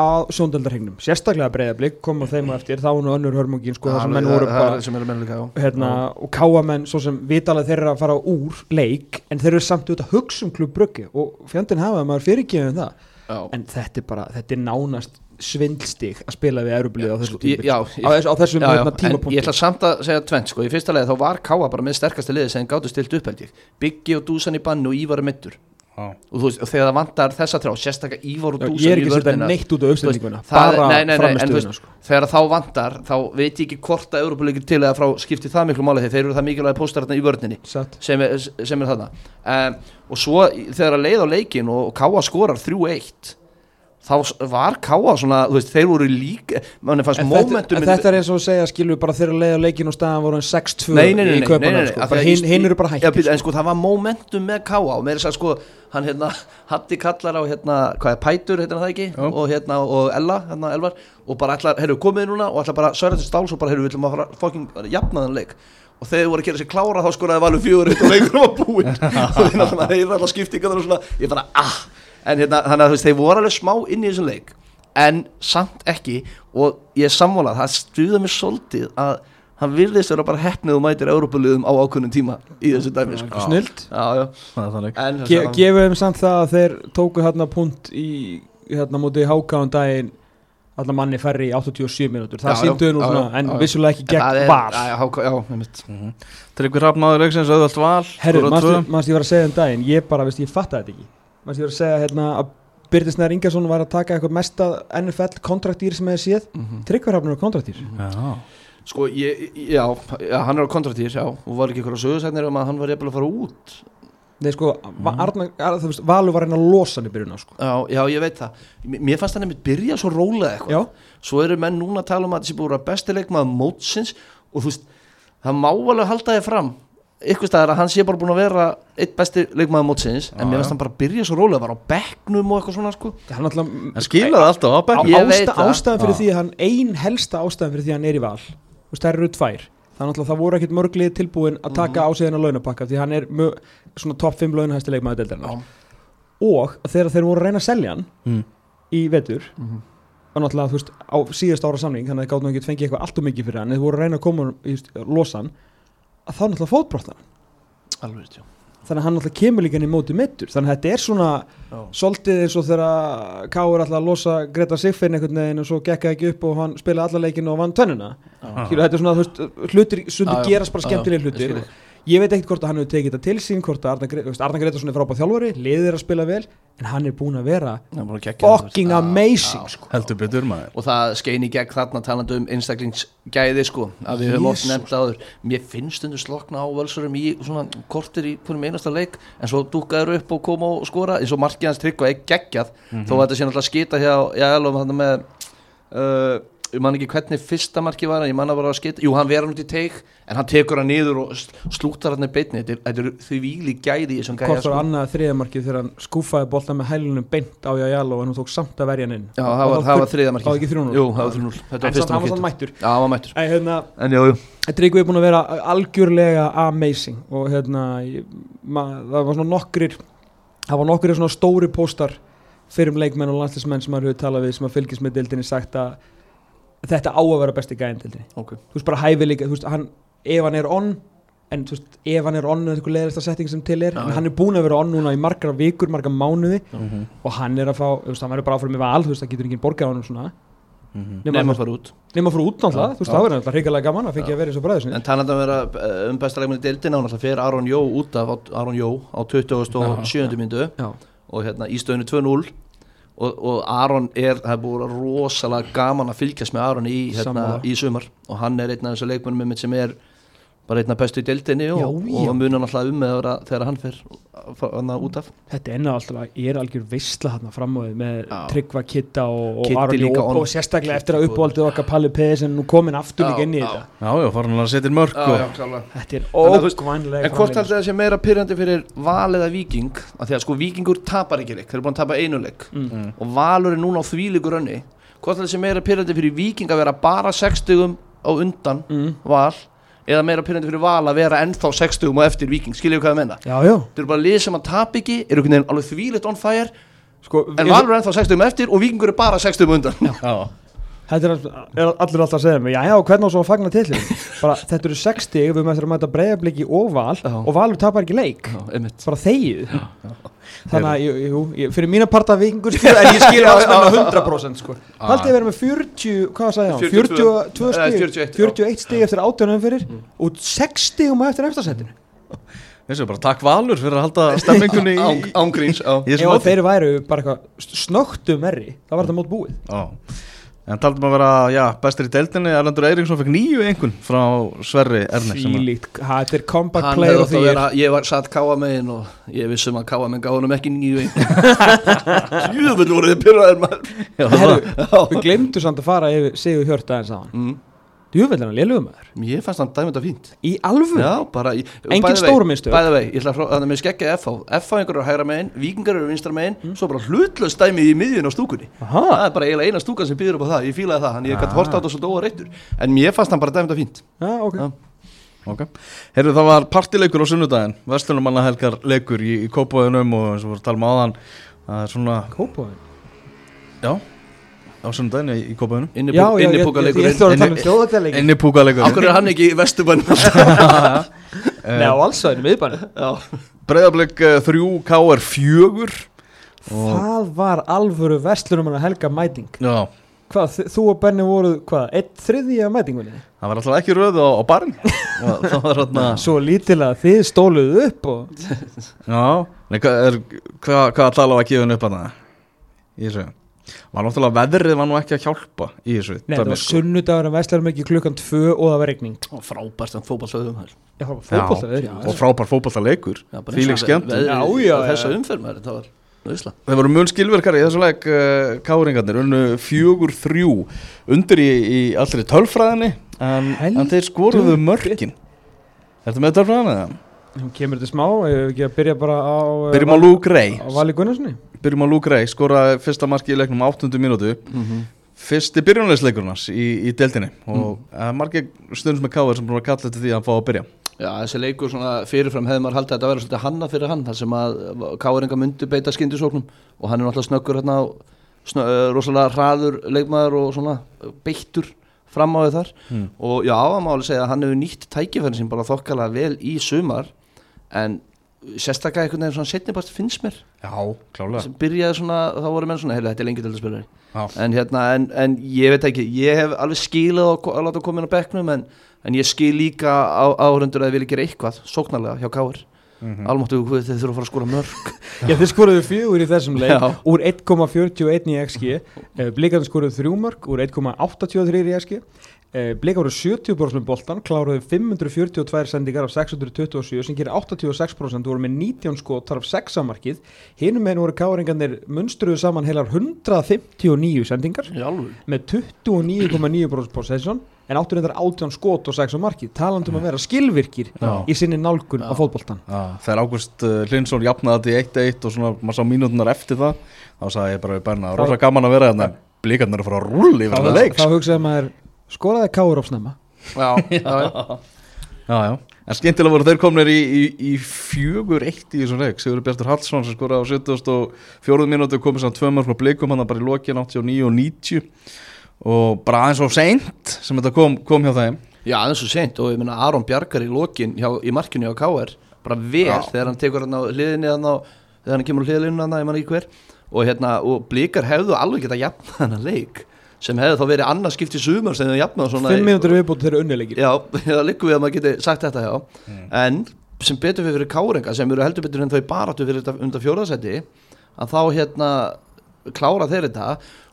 að sjóndöldarhengnum, sérstaklega breyðablík koma þeim á eftir, þá er nú önnur hörmungin sko, þar sem menn voru
Það
bara
er sem eru menn líka á
hérna, og káamenn, svo sem vitalega þeirra að fara úr leik, en þeir eru samt út að hugsa um klubbröggi og fjandinn hafa að maður fyrirgefum það,
Já.
en þetta er bara, þetta er nánast svindlstig að spila við Európa-lið á þessu
Ég- Sko, Já,
á,
ég-
þess, á þessum
já, já,
hérna,
en
tímapunkti
ég ætla samt að segja tvent sko, í fyrsta lagi þá var Káa bara með sterkasta liði sem gátu stilt upp held ég Biggi og Dúsan í bannu og Ívar er mittur
Já.
og þú veist, og þegar það vantar þessa trá sérstaklega Ívar og
Já,
Dúsan
ég er ekki
í
að setja
vörnina
neitt út
þú
af
veist,
uppstendinguna
það-
bara
nei, nei, nei, en þú
framistöðuna
veist,
sko.
þegar þá vantar, þá veit ég ekki hvort að Európa-leikur til eða frá skipti það miklu máli þegar þeir eru það mikilvægi póstararna í vörninni
Satt.
sem er, sem er þarna um, og svo þegar að leið á leikin og, og Káa skorar 3-1 þá s- var Káa svona, þú veist, þeir voru líka manni fannst
En, þetta,
momentum
en þetta er eins og að segja skilur bara þeirra leið að leikin og staðan voru en 6-2
Nei, nei, nei,
í
nei, nei, nei,
kaupanum
nei,
sko.
af því
Bara
að
hinn
í-
hin eru bara
Já,
hættir
býtu, en sko, það var momentum með K.A. og meira sér sko, hann hérna Hatti kallar á hérna, hvað er Pætur, heitir hann það ekki og hérna, og Ella, hérna Elvar og bara ætlar, heyrðu, komið núna og ætlar bara Sörðan Stáls og bara, heyrðu, við ætlum að fara fucking bara jafna þann leik og þegar þau voru að gera sér klára þá skoraði Valur fjögur eitt og leikunum var búinn og hérna, þeir náttúrulega reyður allar skiptingarnar og svona ég bara, ah, en hérna, þannig að þú veist, þeir voru alveg smá inn í þessum leik en samt ekki og ég er sammálað, það stuða mér svolítið að hann virðist vera bara hefnið og mætir Európuliðum á ákunnum tíma í þessu dæmi sko.
snilt
já, já.
Það er þannig
En,
Ge gefum þeim samt það að þeir tóku hérna punt í hérna móti háka um daginn allar manni færri í 87 mínútur það
Já, já,
sínduðu nú
já,
svona
já,
en
já, já.
vissulega ekki
en það
gegn
er-
var
já, já, háka- já, einmitt.
Tryggvi Hrafn maður leiksins auðvöld val
Herru,
skorar tvö.
mannst ég var að segja um daginn ég bara, veist, ég fatta þetta ekki mannst ég var að segja hérna að Byrðis Nær Ingarsson var að taka eitthvað mesta NFL kontraktýr sem hefði séð
Mhm.
Tryggvarhafnur er kontraktýr
Já.
sko, ég, já, já, hann er á kontraktíð já, og var ekki ykkur á sögursætnir um að hann var jafnvel að fara út
Nei sko, mm. Arna, Arna, þú veist, Valur var að reyna að losa hann í byrjun á sko
já, já, ég veit það, M mér fannst hann einmitt byrja svo rólega eitthvað
Já,
svo eru menn núna að tala um að þessi búið að besti leikmaður mótsins og þú veist, það má alveg halda þið fram ykkur staðar að hann sé bara búin að vera eitt besti leikmaður mótsins en
já.
mér finnst hann bara að byrja svo rólega, var á bekknum og eitthvað svona sko
hann alltaf
En skilaði alltaf á
Á-
bekk
Ég veit
ásta,
það.
Ástæðan fyrir
Já.
því að hann, ein helsta ástæðan fyrir því að hann er í val Þú veist, það eru tvær Þannig að það voru ekkit mörglið tilbúin að taka á sig hennar launapakka Því hann er mö, svona topp 5 launahæsti leikmaður deildarinnar og þegar þeir voru að reyna að selja hann
Mm.
í vetur mm
Mhm.
og náttúrulega þú veist á síðast ára samning þannig að þeir gátt nú ekki fengið eitthvað allt og mikið fyrir hann eða voru að reyna að koma honum, þú veist, losa hann að þá náttúrulega fótbrotna hann
alveg rétt, já.
þannig að hann náttúrulega kemur líka inn í móti mittur þannig að þetta er svona
Já.
svolítið eins og þegar K.O. er alltaf að losa Greta Siffin einhvern veginn og svo gekk það ekki upp og hann spilaði alla leikinu og vann tönnuna
Já.
Skilur, þetta er svona þú veist hlutir
Já,
sundur
já.
gerast bara
Já, já.
skemmtilega
Ég
hlutir
skil þig.
Ég veit ekkert hvort að hann hefur tekið þetta til sín hvort að Arna, Gre- þú veist, Arna Gretarsson er frábæð þjálfari liðið er að spila vel en hann er búin að vera
Hann er búinn að kekkja þetta, þú veist.
fucking
Já,
amazing
já.
sko.
Heldur betur maður
og það skein í gegn þarna talandi um einstaklingsgæði sko að við höfum oft
Jesus.
nefnt áður mér finnst undir slokna á völsurum í svona kortir í hvernig einasta leik en svo dúkaður upp og koma og skora eins og markið hans trygg og ekki geggjað þó að þetta sé náttúrulega skita hjá jælum þarna með uh, ég man ekki hvernig fyrsta markið var en ég man að bara að skita jú hann vera hann út í teik en hann tekur hann niður og sl- slútar hann í beinni þetta er- þetta eru því víli gæði í þessum gæja
hvort var
sko.
annað þriðamarkið þegar hann skúfaði bolta með hælunum beint á Jajalo en hún tók samt að verja hann inn
Já, það var,
Og þá
það var
fyrr-
þriðja
það var
markið
ekki 3-0
Jú, það var 3-0 Þetta var
en samt
fyrsta
hann var samt
markið
mættur
Já, hann var mættur
Æ, hérna,
En jú, jú
Tryggvi er búin að vera algjörlega amazing og hérna ég, ma, það var svona nokkrir það var nokkrir svona stóri póstar fyrir um leikmenn og landslismenn sem maður hefur talað við sem að fylgjast með deildinni sagt að þetta á að vera besti gæðin deildinni
okay.
þú veist bara hæfi líka, þú veist, hann ef hann er on, en þú veist, ef hann er on er eitthvað leðrista setting sem til er,
Já,
en
já.
hann er búin að vera on núna í margra vikur, margra mánuði
Mhm,
og hann er að fá, þú veist, hann verður bara áfram í val, þú veist, það getur enginn borgað á hann svona
mhm.
Nefn
nema,
að fara út
nema frú út náttúrulega,
Já,
þú veist,
já.
það verður náttúrulega hrikalega gaman að fengja að vera í svo bræðu sinni
En talandi um að vera eh, um besta leikmenni deildina og náttúrulega fer Aron Jó út af Aron Jó á 27. myndu
Já.
og hérna í stöðinu 2-0 og, og Aron er, það er búið rosalega gaman að fylgjast með Aron í, hérna,
Sammála.
í sumar og hann er einn af þessu leikmennum einmitt sem er bara einna bestu í deildinni og,
Já,
og
já.
það munar náttúrulega um þegar, að- þegar hann fer fa- þarna út af
Þetta er enná alltaf að ég er algjör veistla hann framöðu með
Já.
Tryggva Kitta og, og
Kiddi
Aron
líka
Jók
on-
og sérstaklega eftir að
Kiddi
uppvaldið okkar Palli Peðis en nú komin aftur
Já,
líka inn í
já.
þetta
Já, já, farin hann að setja inn mörg og...
klálega
Þetta er
að þú veist,
ókvænlega
En hvort haldið það sé meira pyrrandi fyrir Val eða Víking af því að sko Víkingur tapar ekki leik, þeir eru búin að tapa einu leik
Mm.
og Valur er núna á þvílíkur önni hvort haldið það sé meira pyrrandi fyrir Víking að vera bara 60 á undan
Mm.
Val eða meira pyrrandi fyrir Val að vera ennþá 60 og eftir Víking, skiljið hvað það menna
Já, já
Þeir eru bara lið sem að tap ekki, eru einhvern veginn alveg þvílitt on fire
sko,
En
ég-
Valur er ennþá 60 eftir og Víkingur er bara 60 undan
Já,
Þetta er, er allir alltaf að segja mig, já já, hvernig á svo að fagna til bara þetta eru 60, við möttum að mæta breyðabliki og val
Já.
og valur tapar ekki leik,
einmitt
bara þegið þannig að, jú, jú, ég, fyrir mína parta vikingur skil, sko, en ég skil
Já, Ah.
aðstæðna
já, já.
100% sko Haldið að vera með 40, hvað sagði hann?
42
42
Eða
stig,
41, já.
41 stig eftir 18 umfyrir
Mm.
og 6 stigum á eftir eftirsettinu
þessu er bara takk Valur fyrir að halda stemmingunni í...
Án- Ángríns, á
í
Ef
þessum
að
móti.
þeir væru bara eitthvað snögtum erri, það var þetta mót búið
Já. En taldum að vera, já, bestir í deildinni Erlendur Eiríksson fekk nýju einhvern frá Sverri Erne sem að-
Fílíkt, ha, þetta er comeback
Hann
play
hefði
og
átt að
því
vera, ég var satt káa megin og ég vissum að káa megin gáði hann ekki nýju einn Jöfull voru þið pyrraðir maður
Já, það-
Herru, við glemdu samt að fara yfir Sigur Hjört aðeins á hann
mm.
Djúvel er hann lélugum maður
Ég fannst hann dæmið þetta fínt
Í alvöru?
Já, bara ég-
Hmm. Engin
by the way-
stór mistök.
By the way, ég ætla að frá, þannig að mér skekkja FH FH einhverju hægra megin, vikingar eru vinstra megin
Hmm.
Svo bara hlutlaust dæmið í miðjun á stúkunni
Aha,
Ah.
Það er bara eiginlega eina stúkan sem býður upp á það Ég fílaði það, hann ég gæti
Ah.
hort á þetta svo dóa reittur En mér fannst hann bara dæmið þetta fínt
já, ok
Ah.
Já.
Ok, heyrðu það var partileikur á sunnudaginn Vestlunumannahelgar leikur í, í Kópaðunum og eins og voru að tala um áðan það er svona,
Kópaði
já á sunnudaginn í, í Kópaðunum
Já, já, ég, ég,
Innipúka
ég, ég
leikurinn
ætla að tala um þjóðagdæleikin
Inni púkaleikur
Akkur er hann ekki í vesturbænum
eh, Nei, á allsvæðinu, miðbænum
Eh, Breiðablik 3, KR 4
Það var alvöru vestlunumann að helga mæting
Já,
Hvað, þi- þú og Benni voru, hvað, eitt þriði af mætingunni?
það var alltaf ekki röðu á, á barinn og það var hérna
Svo lítilega þið stóluðu upp og
Já, nei, hvað er, hva, hvað tala á að gefa henni upp hana í þessu Var náttúrulega veðrið var nú ekki að hjálpa í þessu
Nei, það
dæmi,
var
sko.
sunnudagur en vestlunum ekki klukkan tvö og það var regning
Og frábært hann fótballsöðum þær
Já, það var
Já,
fótboltaveður, já.
og frábær fótballtaleikur Fílík skemmt
Já, bara eins og
Já, já,
veðrið-
já.
Þessa umferð maður, það var nöðsla
Þeir voru mun skilverkari í þessu leik uh, Káringarnir, unnu fjögur þrjú undir í, í allri tölfræðinni en,
Heldur
en þeir skoruðu mörkin Ertu með tölfræðina eða?
Nú Kemur þetta smá, ef við ekki að byrja bara á eh,
Byrjum á
Val-
Luke Ray
á Vali Gunnarssoni
Byrjum á Luke Ray, skoraði fyrsta marki í leiknum á 8. mínútu
Mhm.
Fyrsti byrjunleisleikurnas í, í deildinni og mm. margir stundum með Káir sem búin að kalla eftir því að fá að byrja
Já, þessi leikur svona fyrirfram hefði maður haldið að þetta verið svolítið hanna fyrir hann þar sem að Káringa myndi beita skyndisóknum og hann er náttúrulega snöggur hérna og snö, eh, rosalega hraður leikmaður og svona eh, beittur fram á þau þar
Mm.
og já, það má alveg segja að hann hefur nýtt tækifærin sem bara þokkala vel í sumar en sérstaklega einhvern veginn svona setnibast finnst mér
Já, klálega
sem byrjaði svona, þá voru menn svona, heyrðu, þetta er lengi til
Já.
en hérna, en, en ég veit ekki ég hef alveg skilað að, að láta koma inn á bekknum en, en ég skil líka á, áhundur að þið vilja gera eitthvað, sóknarlega hjá Káar mm
Mhm.
-hmm. almáttu hvað þið þurfa að fara að skora mörg
Já, þeir skoruðu fjögur í þessum leik
Já.
úr 1,41 í XG eh, Blikarnir skoruðu þrjúmörk úr 1,83 í XG eh, Blikar voru 70% með boltan kláruðu 542 sendingar af 627 sem gerir 86% voru með 19 skot þar af 6 markið hinum meðin voru káringarnir munstruðu saman heilar 159 sendingar
Jálfur.
með 29,9% possession en áttur reyndar 18 skot og 6 markið talandum að vera skilvirkir
Mm. Já.
í sinni nálgun á fótboltan
Já, þegar Ágúst uh, Hlinsson jafnaði þetta í 1-1 og svona maður sá mínútunar eftir það þá sagði ég bara við Benna, rosa gaman að vera þarna blíkarnir að fara að rúli yfir þetta
þá,
leik
þá
sko.
hugsaði maður skoraði káur á snemma
já, já, já.
já, já. en skemmtilega voru þeir komnir í, í, í fjögur eitt í þessum leik Sigur Bjartur Hallsson sem skoraði á 74 mínútu komið saman tvö mörg með blíkum hann bara í lokin 89 og 90 og bara aðeins og seint sem þetta kom, kom hjá þeim
já það er svo seint og ég meina Aron Bjarkar í lokin hjá, í markinu hjá Káar bara vel
Já.
þegar hann tekur hann á hliðinni hann á, þegar hann kemur á hliðinni hann, ég man ekki hver og hérna, og blikar hefðu alveg geta jafnað hann leik sem hefðu þá verið annarskipt í sumar sem þau jafnað svona
5 mínútur viðbútt þeir eru unnilegir
Já, það liggur við að maður geti sagt þetta já En sem betur fyrir fyrir Káringa sem eru heldur betur en þau baráttu fyrir þetta undan fjóraðsæti að þá hérna klára þeir þetta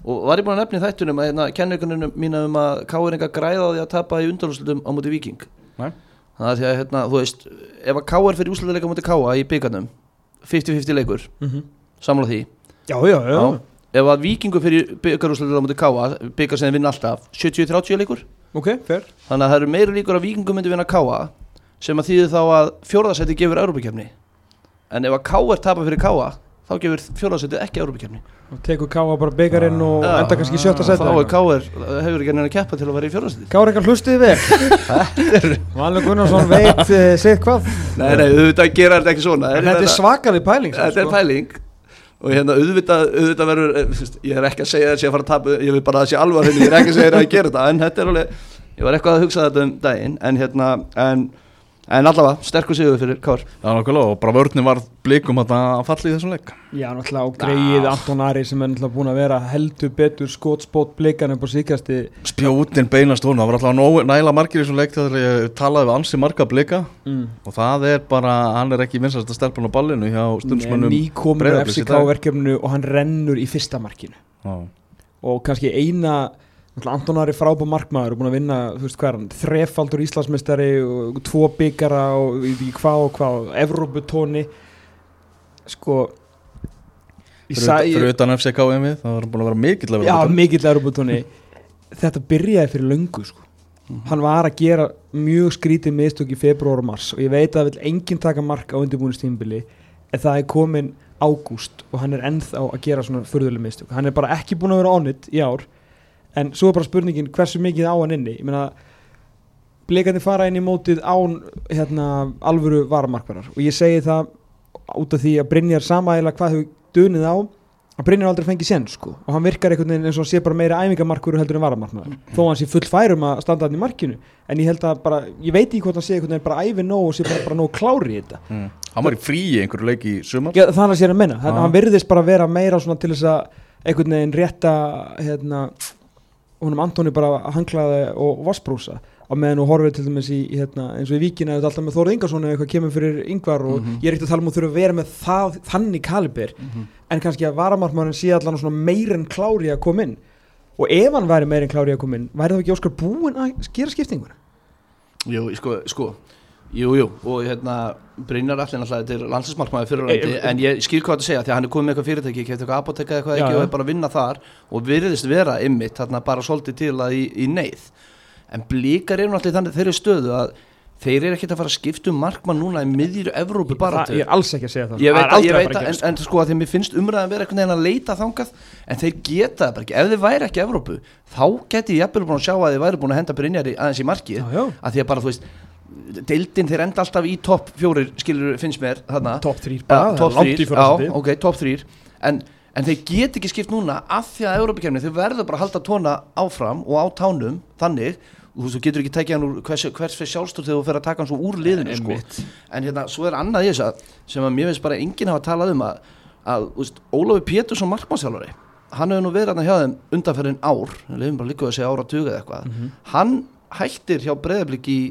og var ég búin að nefna í þættunum að hérna, kenningunum mína um að Káringa græða á því að tapa í undanúslutum á móti Víking
Nei.
það er því að hérna, þú veist ef að KR fyrir úsleika mútið KA í byggarnum 50-50 leikur, samla því
Mhm. Já, já, já,
Já. ef að vikingur fyrir byggarúsleika mútið KA byggar sem þeir vinna alltaf, 70-30 leikur
ok, fer
þannig að það eru meiri líkur að vikingum myndi vinna KA sem að þýði þá að fjórðasæti gefur Európa-kefni en ef að KR tapar fyrir KA þá gefur fjórðasæti ekki Európa-kefni
og tekur Káa bara byggarinn og
Já.
enda kannski í sjötta
þá
seti
er KR, hefur ekki henni að keppa til að vera í fjórðasæti
Kári ekki hlustið vel Valur Gunnarsson veit uh, sitt hvað
Nei, nei, auðvitað gera þetta ekki svona
en þetta er svakalig pæling samt,
þetta er
sko.
pæling og hérna auðvitað, auðvitað verður eh, þú veist, ég er ekki að segja þessi að fara að tapa ég vil bara að það sé alvar henni, ég er ekki að segja þér að gera þetta en þetta er alveg, ég var eitthvað að hugsa þetta um daginn en hérna, en, en allavega sterkur sigur fyrir Kár
Já, nákvæmlega, og bara vörnni var blikum að það falli í þessum leik
Já, náttúrulega Ah. og greið Anton Ari sem er náttúrulega búin að vera heldur betur skotspót blikan upp á síkjasti
Spjótin beinast honum, það var alltaf nógu- nægilega margir í þessum leik þegar ég talaði við ansi marga blika
mm.
og það er bara, hann er ekki vinsast að stelpa á ballinu hjá
um
stundsmönnum
ný komur á
Breiðabliks í
FCK
dag.
verkefnu og hann rennur í fyrsta markinu
Já.
og kannski eina náttúrulega Anton Ari frábær markmaður og búin að vinna þú veist hvað er hann, þrefaldur Íslandsmeistari og tvo byggara og ég veit ekki hvað og hvað og Evróputóni sko ég
Fyrir,
sagði
fyrir utan FCK en við, það var hann búin að vera mikill að vera
já
betur.
mikill Evróputóni þetta byrjaði fyrir löngu sko
Mhm.
hann var að gera mjög skrítið mistök í februar og mars og ég veit að það vil enginn taka mark á undirbúinistímbili en það er komin ágúst og hann er ennþá að gera svona furðuleg mistök hann er bara ekki búin að vera on it í ár en svo er bara spurningin hversu mikið á hann inni ég meina blikandi fara inn í mótið án hérna, alvöru varamarkvarar og ég segi það út af því að Brynjar samægilega hvað hefur dunið á að Brynjar aldrei fengið senn sko og hann virkar einhvern veginn eins og hann sé bara meira æfingamarkur heldur en varamarkmaður þó að hann sé full færum að standa hann í markinu en ég held að bara, ég veit ekki hvort hann sé einhvern veginn bara æfi nóg og sé bara, bara nóg klári í þetta
Mm. Hann var í fríi einhverju leik í sumar
Já, það er að sér að menna, hann,
Já.
hann virðist bara vera meira svona til þess að einhvern veginn rétta hérna, húnum Antoni bara hanglaði og vassbrúsa á meðan og horfið til dæmis í, í hérna, eins og í vikina er alltaf með Þóra Ingarsson eða eitthvað kemur fyrir yngvar og
Mhm.
ég er ekkert að tala um að þurfa að vera með það, þannig kalibir en kannski að varamarkmaðurinn sé allan svona meirinn klári að koma inn og ef hann væri meirinn klári að koma inn væri þá ekki Óskar búinn að gera skiptinguna
jú, sko, sko Jú, jú, og hérna Brynjar allir náttúrulega til landsinsmarkmaður fyrir
Ei,
landi
ei,
en ég skil hvað þetta segja því að hann er komið með eitthvað fyrirtæki kefti eitthvað apoteka eða eitthvað
Já,
ekki
já.
og er bara að vinna þar og virðist vera ymmit þarna bara svolítið til að í, í neyð en blíkar eru náttúrulega í þannig þeirri stöðu að þeir eru ekkert að fara að skipta um markmann núna í miðjur Evrópu bara
það, ég er alls ekki að segja það
Ég veit
Það er
að, ég
aldrei
veit
fara
að, en,
gerast.
en sko að þeim mér finnst umræðan vera einhvern veginn að leita þangað en þeir geta það bara ekki, ef þeir væri ekki í Evrópu þá geti ég jafnvel búin að sjá að þeir væri búin að henda Brynjar í- aðeins í markið
Já, já.
að því að bara þú veist deildin þeir enda alltaf í topp fjórir skilur finnst mér þarna
Topp þrír
Ja,
bara, það er
topp
langt í
þrír,
fjórða sæti.
já, ok, topp þrýr en, en þeir get ekki skipt núna af því að Európa-kemni, þeir verður bara að halda tóna áfram og á tánum, þannig og þú veist, þú getur ekki tekið hann úr hvers, hvers fyrir sjálfstur þegar þú fer að taka hann svo úr liðinu sko. en hérna, svo er annað í þess að sem að mér veist bara enginn hafa talað um að, að þú veist, Ólafi Pétursson markmannsjálfari hann hefur nú verið hann hjá þeim undanferðin ár, við lefum bara líka að segja ára tuga eða eitthvað,
Mhm.
hann hættir hjá breyðablík í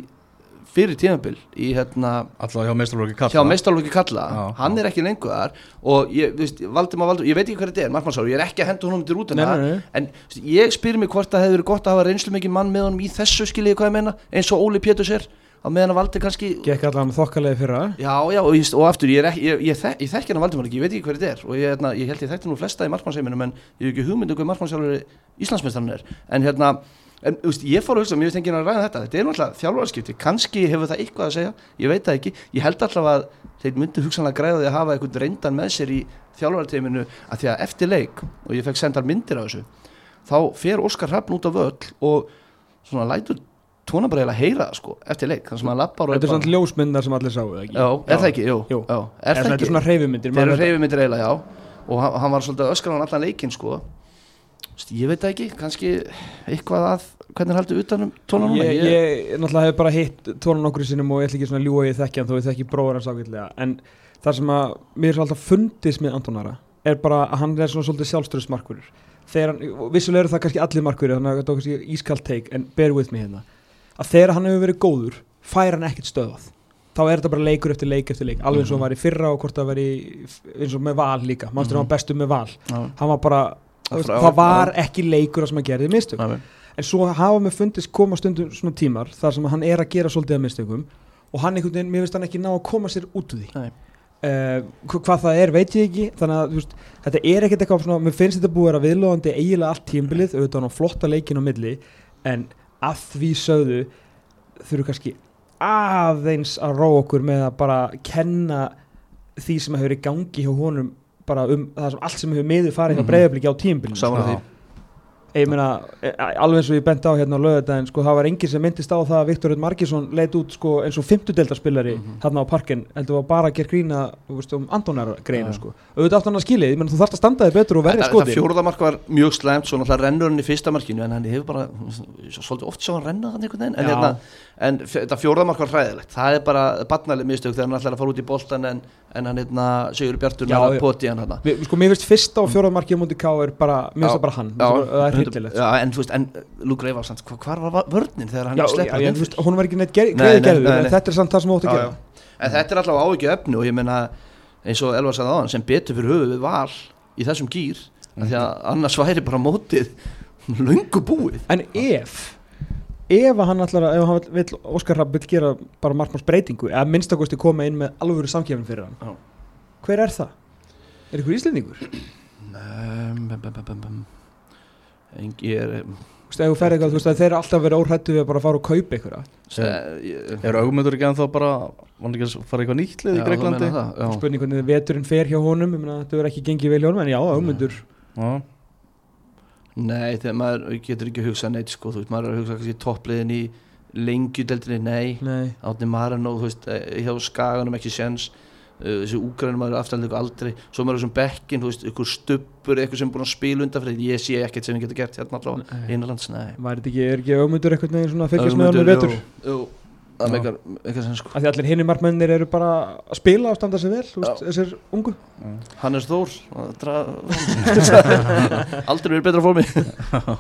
fyrir tímabil í hérna
Alltaf hjá meistarlóki kalla
hjá meistarlóki kalla,
Já,
hann er ekki lengur þar og ég, þú veist, Valdimar Valdimar, ég veit ekki hver þetta er, markmannsáru, ég er ekki að henda honum til rútuna,
Nei, nei, nei.
en þú veist, ég spyr mig hvort það hefur verið gott að hafa reynslu mikið mann með honum í þessu skiljiði hvað ég meina, eins og Óli Péturs er, á meðan að Valdi kannski,
gekk allan þokkalegi fyrra
já, já, og, ég- og aftur, ég, er ekki, ég, ég, þek, ég þekki hann að Valdimar ekki, ég veit ekki hver þetta er og ég, hérna, ég held ég þekkti nú flesta í markmannsheiminum en ég hef ekki hugmyndu hver markmannsáru Íslandsmeistarinn er, en hérna, En, þú veist, ég fór að hugsa, mér finnst enginn að ræða þetta þetta er náttúrulega þjálfarskipti, kannski hefur það eitthvað að segja ég veit það ekki, ég held alltaf að þeir myndu hugsanlega græða því að hafa einhvern reyndan með sér í þjálfarteiminu að því að eftir leik, og ég fekk sendar myndir af þessu, þá fer Óskar Hrafn út af völl og svona lætur tóna bara eiginlega heyra það, sko, eftir leik, þannig sem hann lappar og
þetta er
bara-
svona ljósmyndar sem allir sáu eða ekki?
Já, er það ekki, jú,
Jú.
Já,
Er
er það
þetta
ekki
er svona reyfumyndir
þeir eru reyfimyndir eiginlega, já og hann, hann var svolítið öskar á allan leikinn sko Vist, ég veit það ekki, kannski eitthvað að hvernig haldur utanum tóna núna
ég, ég náttúrulega hef bara hitt tónan okkur í sinum og ég ætla ekki svona að ljúa ég þekki hann þó ég þekki bróður hans ágætlega en það sem að mér er svo alltaf fundist með Antonara er bara að hann er svona svolítið sjálfstöðsmarkverður þegar hann, og vissulega eru það kannski allir markverður þannig að þetta er kannski ískalt teik en bear with me hérna að þegar hann hefur verið góður fær hann ekkert stöðað þá er þetta bara leikur eftir leik eftir leik alveg eins og hann var í fyrra og hvort það var í eins og með val líka, mannstu mm hann var bestur með val
Já.
hann var bara,
Það frá-
það var ekki leikur að sem hann gerði mistök
Nei, nei.
en svo hafa mér fundist koma stundum svona tímar þar sem hann er að gera svolítið að mistökum og hann einhvern veginn, mér finnst hann ekki ná að koma sér út úr því
Nei.
uh, hvað það er veit ég ekki þannig að þú veist, þetta er ekkert eitthvað svona, mér finnst þetta búið að vera viðlóðandi eiginlega allt tímbilið auðvitað hann á flotta leikin á milli en að því sögðu þurfum kannski aðeins að róa okkur með að bara kenna því sem hefur í gangi hjá honum bara um það sem allt sem hefur miður farið hjá
Mhm.
breyðabliki á tímbilinu
Saman að
Já.
því
ég meina, eh, alveg eins og ég bent á hérna á lögðardaginn, sko, það var enginn sem myndist á það að Viktor Rödd Markísson leit út sko, eins og fymtudeldarspillari mm
Mhm.
þarna á parkinn heldur var bara að gera grína þú veist, um Andonar greina,
Já.
sko auðvitað átt hann að skilja, ég meina, þú þarft að standa þig betur og verja
Þetta- Þetta
skotin
fjóruðamark var mjög slæmt Svo náttúrulega rennur hann í fyrsta markinu En hann hefur bara, svolítið oft sjá hann renna þannig einhvern veginn En,
Já.
hérna, en f- þetta fjóruðamark var hræðilegt Það er bara barnaleg mistök Þegar hann ætlar að fara út í boltan En, en hann hérna, Sigur Bjartur
Já,
náði
já.
poti í hann hérna
Vi, sko, mér finnst fyrsta og fjóraðmarkið mútið K er bara, mér finnst
Já,
það bara hann
já,
það er bara- það er
hundra-
hryllilegt sko.
Já, en þú veist, en Lúk Reifars Hvar var va- vörnin þegar hann
Já,
sleppur
já,
hann
já,
inn
þú veist, hún var ekki neitt
Nei,
ger-
nei,
greiðgerður,
nei,
en
nei.
þetta er samt það sem þú átt að
já,
gera
já. En þetta er alltaf áhugja efni og ég meina eins og Elvar sagði áðan sem betur fyrir höfuð val í þessum gýr
Mm.
af því að annars væri bara mótið löngu búið
En ef ef að hann ætlar að, ef hann vill- vill Óskar Rapp vill gera bara markmannsbreytingu eða minnstakosti koma inn með alvöru samkjöfn fyrir hann
Já.
hver er það? Er ykkur íslendingur?
um, bum, bum, bum, bum, bum. En ég er um,
Þú veist, ef þú ferð eitthvað, þú veist, að þeir eru alltaf verið óhrættu við að bara fara og kaupa ykkur
eh, ég-
Er augmyndur ekki ennþá bara Vann ekki að fara í eitthvað nýtt lið
Já,
í
þú
Greiklandi
meinar það, já.
spurning hvernig veturinn fer hjá honum ég meina, þetta verður ekki gengið vel hjá honum, en já, auðmundur
Já,
Nei, þegar maður getur ekki hugsað neitt sko, þú veist, maður er að hugsa kannski toppliðin í lengjudeldinni, nei
Nei,
Átni Marino, þú veist, eh, hjá Skaganum ekki séns uh, þessi úgrænum maður aftanlega aldrei, svo maður er þessum bekkin þú veist, ykkur stubbur, eitthvað sem er búin að spila undanfrið ég sé ekkert sem ég getur gert hérna allavega
væri
innanlands, nei
þetta ekki, er ekki auðmundur eitthvað neginn svona að fylgjast með honum í vetur?
Jú, jú,
Já.
það meikar eitthvað sem sko
Af því allir hinni markmennir eru bara að spila og standa sig vel, þú veist, þessir ungu
Hannes Þór, að dra... aldrei verið betra formi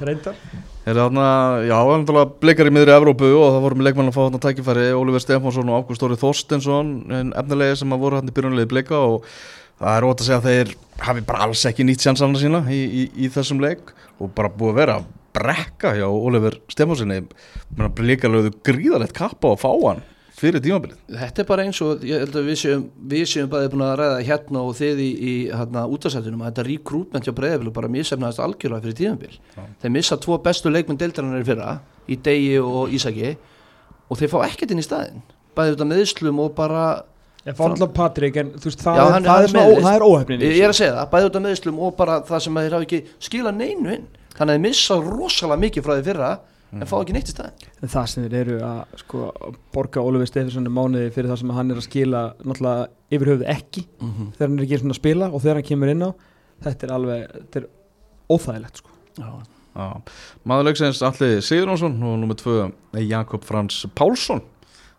reyndar.
Er þarna, já, það er náttúrulega blikar í miðri Evrópu og það voru með leikmann að fá þarna tækifæri Oliver Stefánsson og Ágúst Þóri Þorstinsson en efnilegi sem að voru hann í byrjunlegi blika og það er ótt að segja að þeir hafi bara alls ekki nýtt sjansana sína í, í, í þessum leik og bara búið að vera að brekka hjá Oliver Stefánssoni menna blikar lögðu gríðalegt kappa og fá hann fyrir tímabilið
Þetta er bara eins og ég held að við séum, við séum bæði búin að ræða hérna og þið í, í hérna, útasættunum að þetta rekrútment hjá breyðafélag bara misefnaðist algjörlega fyrir tíðanbíl. Þeir missa tvo bestu leikmenn deildarinnar í fyrra, í Degi og Ísaki og þeir fá ekkert inn í staðinn. Bæði þetta meðslum og bara,
Ég fann alltaf Patrik, en þú veist, það
Já,
er-
hann-
það
hann
er
er
svona ó-
meiðist.
það er óhefnin í
ég
þessu.
er að segja það, bæði þetta meðslum og bara það sem að þeir hafa ekki skila neinu inn. Þannig að þeir missa rosalega mikið frá því fyrra en fá ekki neitt í staðinn.
En það sem þeir eru að sko, borga Ólafur Stefansson mánuði fyrir það sem hann er að skila náttúrulega yfir höfuð ekki þegar hann er ekki einu sinni að spila og þegar hann kemur inn á þetta er alveg, þetta er óþægilegt sko.
Já,
Já. Maður leiksins Alli Sigurjónsson og nummer tvö Jakob Frans Pálsson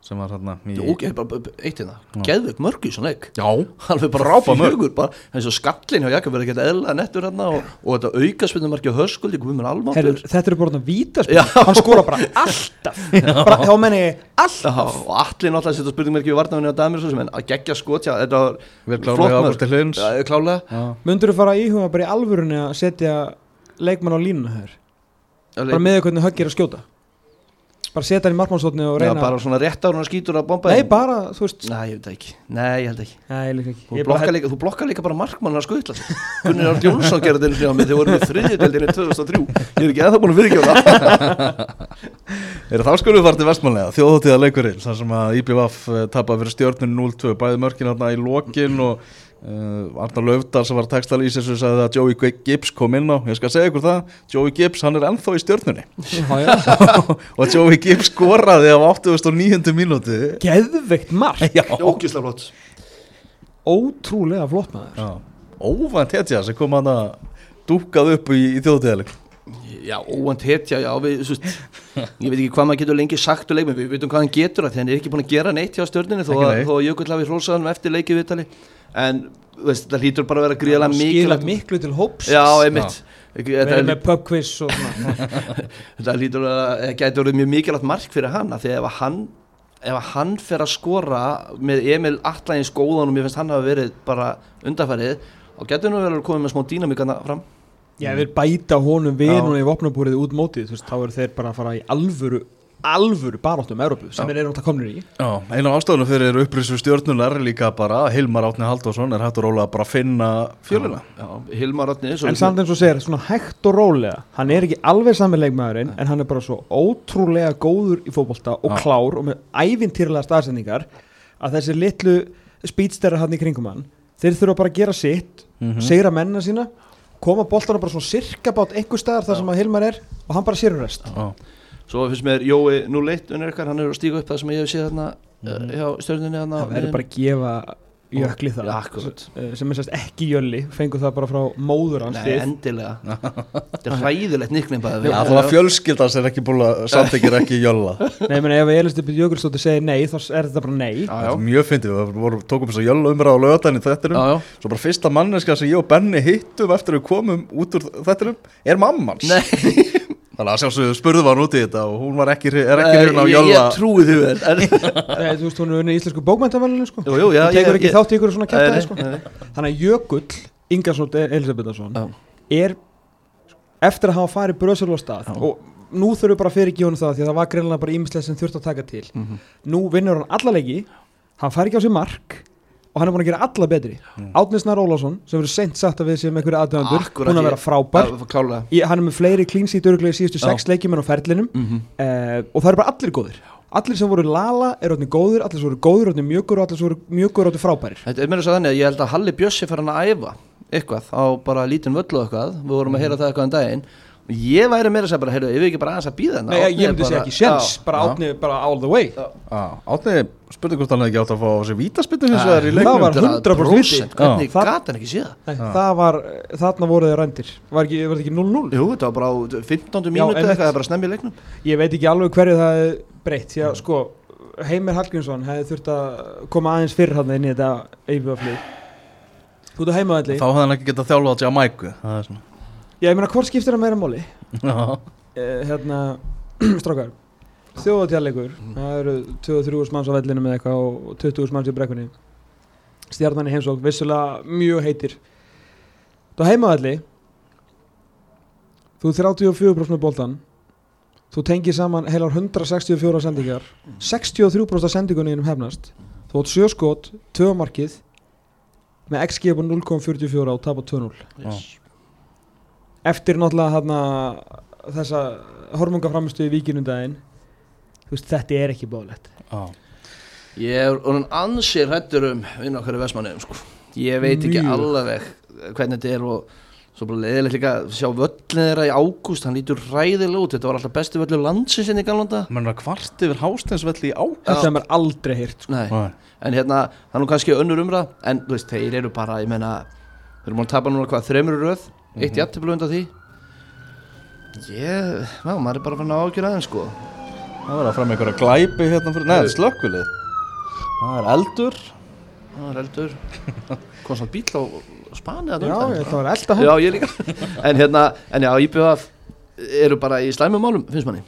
sem var hérna í...
Jú, ok, bara bara- eitt í það.
Já.
Geðvögg mörg í svona leik.
Já,
alveg bara
Frábær mörk.
fjögur bara, eins og skallin hjá Jakob er ekki eðla nettur hann og, og þetta aukaspinnum á höskuldi Guðmund
Heru,
Almáttur
þetta eru bara vítaspil
Já.
hann skora bara alltaf bara, þá menn ég
Já, og allir náttúrulega setja spurningmerki við varnafinu á Damir svo sem en að gegja skotja, þetta
Vel
var
klárlega
flott mörk.
Ágústi Hlyns.
Já, klálega,
já.
myndur þú fara að íhuga bara í alvörunni að setja leikmann á línuna hér bara með hvernig högg er að skjóta bara setja hann í markmannstotni og
Já,
reyna
bara svona rétt ára og skýtur að bomba
nei
inn.
bara, þú veist
Nei, ég veit það ekki, nei, ég held ekki
nei, líka ekki.
Þú
Ég bara-
blokkar líka, þú blokkar líka bara markmann að skuðla Gunnar Arn Jónsson gerði þetta einu sinni á mig þegar vorum við þriðjöldinni 2003 Ég er ekki eða búin að virkja það
Er þá skulum við fara til vestmannlega, þjóðhóttíða leikurinn, þar sem að IBVF tapar eh, fyrir stjórnun 0-2, bæði mörkin hérna í lokin og uh, Arnar Löfdal sem var textal í þessu sagði að Joey Gibbs kom inn á, ég skal segja ykkur það, Joey Gibbs hann er ennþá í stjórnunni
Já, já.
og Joey Gibbs skoraði á 89. mínúti.
geðveikt mark
Já,
Ógislega flott
ótrúlega flott maður
Já. óvænt hetja sem kom hann að dúkað upp í, í þjóðhóttíða leikurinn.
Já, óvænt hetja, já, við, þú veist, ég veit ekki hvað maður getur lengi sagt og leik, við veitum hvað hann getur að því hann er ekki búin að gera neitt hjá stjörninni þó
Ekki
að,
neitt.
þó að Jökull hafi hrósað hann eftir leikið viðtali, en þú veist, það hlýtur bara að vera
skila
gríðlega mikilvægt.
miklu til hóps
Já, einmitt. Ekki,
verið
Þetta,
með pub quiz og svona
þetta hlýtur að, það gæti orðið mjög mikilvægt mark fyrir hann, af því að ef að hann, ef að hann fer að skora með Emil Atlægins góðan og mér finnst hann hafa verið bara undarfærið, þá getur nú vel að koma með smá dýnamíkana fram.
Já, við bæta honum við
Já.
núna í vopnabúrið út mótið þú veist, þá eru þeir bara að fara í alvöru alvöru baráttum Európu sem þeir eru náttúrulega komnir í
Já, eina af ástofunum fyrir upprisu stjórnunar er líka bara að Hilmar Átni Halldórsson er hægt og rólega bara að finna fjöluna
já, Hilmar Átni svo
en samt eins og segir, svona hægt og rólega hann er ekki alveg sami leikmaðurinn en hann er bara svo ótrúlega góður í fótbolta og
Já.
klár og með ævintýrlega staðsendingar að þessi litlu spýtsterra hann í kringum hann þeir þurfa bara að gera sitt segra mennina sína koma boltana bara svona sirka bát einhver staðar þar sem að Hilmar er og hann bara sérur rest
Já,
Svo finnst mér Jói 01 unnur ykkar, hann er að stíga upp það sem ég hef séð þarna mm. hjá stjórnunni þarna
það verður bara að gefa jökli það
Ja, akkurat.
Eh, sem er sérst ekki jöli fengur það bara frá móður hans
Nei,
þið.
endilega Þetta er hræðilegt niknum bara
Já þannig að fjölskyldan sem ekki búin að samþykir ekki jölla
Nei, ég meina ef Elisabeth Jökulsdóttir segir nei þá er þetta bara nei
Já,
Þetta
já.
er mjög fyndið, við vorum, tókum þess að jölla umræða á lögatann í þettinum
Já, já.
Svo bara fyrsta manneska sem ég og Benni hittum eftir að við komum út úr þettinum er mammans
Nei.
Þannig að sjálfsögðu spurðum hann út í þetta og hún var ekki, hri- er ekki
Eh, Ég,
hrifin á
ég,
jölla
ég trúi því vel en,
Nei, þú veist, hún er unni í íslensku bókmæntavælinu sko.
Jú, jú, já,
Hún tekur
ég-
ekki
ég-
þátt í ykkur svona kjartaði
Nei,
sko.
nei, nei.
Þannig að Jökull, Ingarsson Elisabethason
Já.
er eftir að hafa farið bröðsölu á stað og nú þurfum við bara fyrir ekki honum það því að það var greinlega bara ímislega sem þurft að taka til Nú vinnur hann alla leiki hann fær ekki á sig mark og hann er búin að gera alla betri mm. Átnisnar Ólásson sem verður seint sagt að við sem einhverju aðdöðandur
Akkúrat,
búin að
ég-
vera frábær
Já, Klálega
Ég, hann er með fleiri klínsít öruglega í síðustu sex leikjum en á ferlinum eh, og það eru bara allir góðir allir sem voru lala eru orðin góðir allir sem voru góðir orðin mjögur og allir sem voru mjögur orðin frábærir
Þetta er mér að segja þannig að ég held að Halli Bjössi fær hann að æfa eitthvað á bara lítinn völlu og eitthvað við vorum að
Mhm.
heyra það eitthvað um daginn og ég væri meira að segja bara, heyrðu, ef við ekki bara aðeins að býða hennar
Nei, ég myndi segja ekki sjens, bara
já.
átni bara all the way
Já, Átni spurði hvort hann hefði ekki átt að fá þessi vítaspindu
Ah,
hins vegar í
Það
leiknum
var 100% viti.
Hvernig
Já.
gat hann ekki séð það?
Nei, það var, eh, þarna voru þeir rændir var ekki, var þetta ekki 0-0
Jú, þetta var bara á 15. mínútu
einmitt.
eitthvað, það er bara snemmi í leiknum
ég veit ekki alveg hverju það hefði breytt því að sko, Heimir Hallgrímsson hefði þurft að koma aðeins fyrir hann inn í þetta eifjöflið þú ert að heima
Þá hefði hann ekki getað þjálfað á Jamaiku Það er
ég meina hvort skiptir það meira máli
svona Já.
Eh, hérna, strákar þjóðatjáleikur, það eru 23 manns á vellinu með eitthvað og 20 manns í brekkunni stjarnan í heimsók, vissulega mjög heitir þú heimavalli þú ert 34% með boltan þú tengir saman heilar 164 sendingar 63% af sendingunum þínum hefnast þú átt 7 skot, 2 markið með XG upp á 0,44 og tap á 2-0
Yes.
eftir náttúrulega hana, þessa hormungaframistu í víkinundaginn þú veist, þetta er ekki bóðlegt
Já.
Ég er orðin ansir hættur um vinn okkar í Vestmanniðum sko. Ég veit ekki
Mjög.
alveg hvernig þetta er og svo bara leðilegt líka að sjá völlin þeirra í ágúst, hann lítur ræðilega út þetta var alltaf besti völlur landsins inn í galanda
Menn var kvart yfir hásteinsvelli í ákvæm
þetta er mér aldrei hýrt sko.
Nei, en hérna, það er nú kannski önnur umræð, en þú veist, þeir eru bara, ég meina þeir eru múin að tapa núna hvað, þremur í röð eitt
Mhm.
mm -hmm. undan því ég, ná, maður er bara fann að ágjöra aðeins sko
Það verða fram einhverja glæpi hérna fyrir Nei, slökkulið Það er eldur
það er eldur kom svona bíl á á Spani þarna
já,
undan.
ég, það var elda hann
já, ég líka en hérna, en já, IPVF eru bara í slæmum málum, finnst manni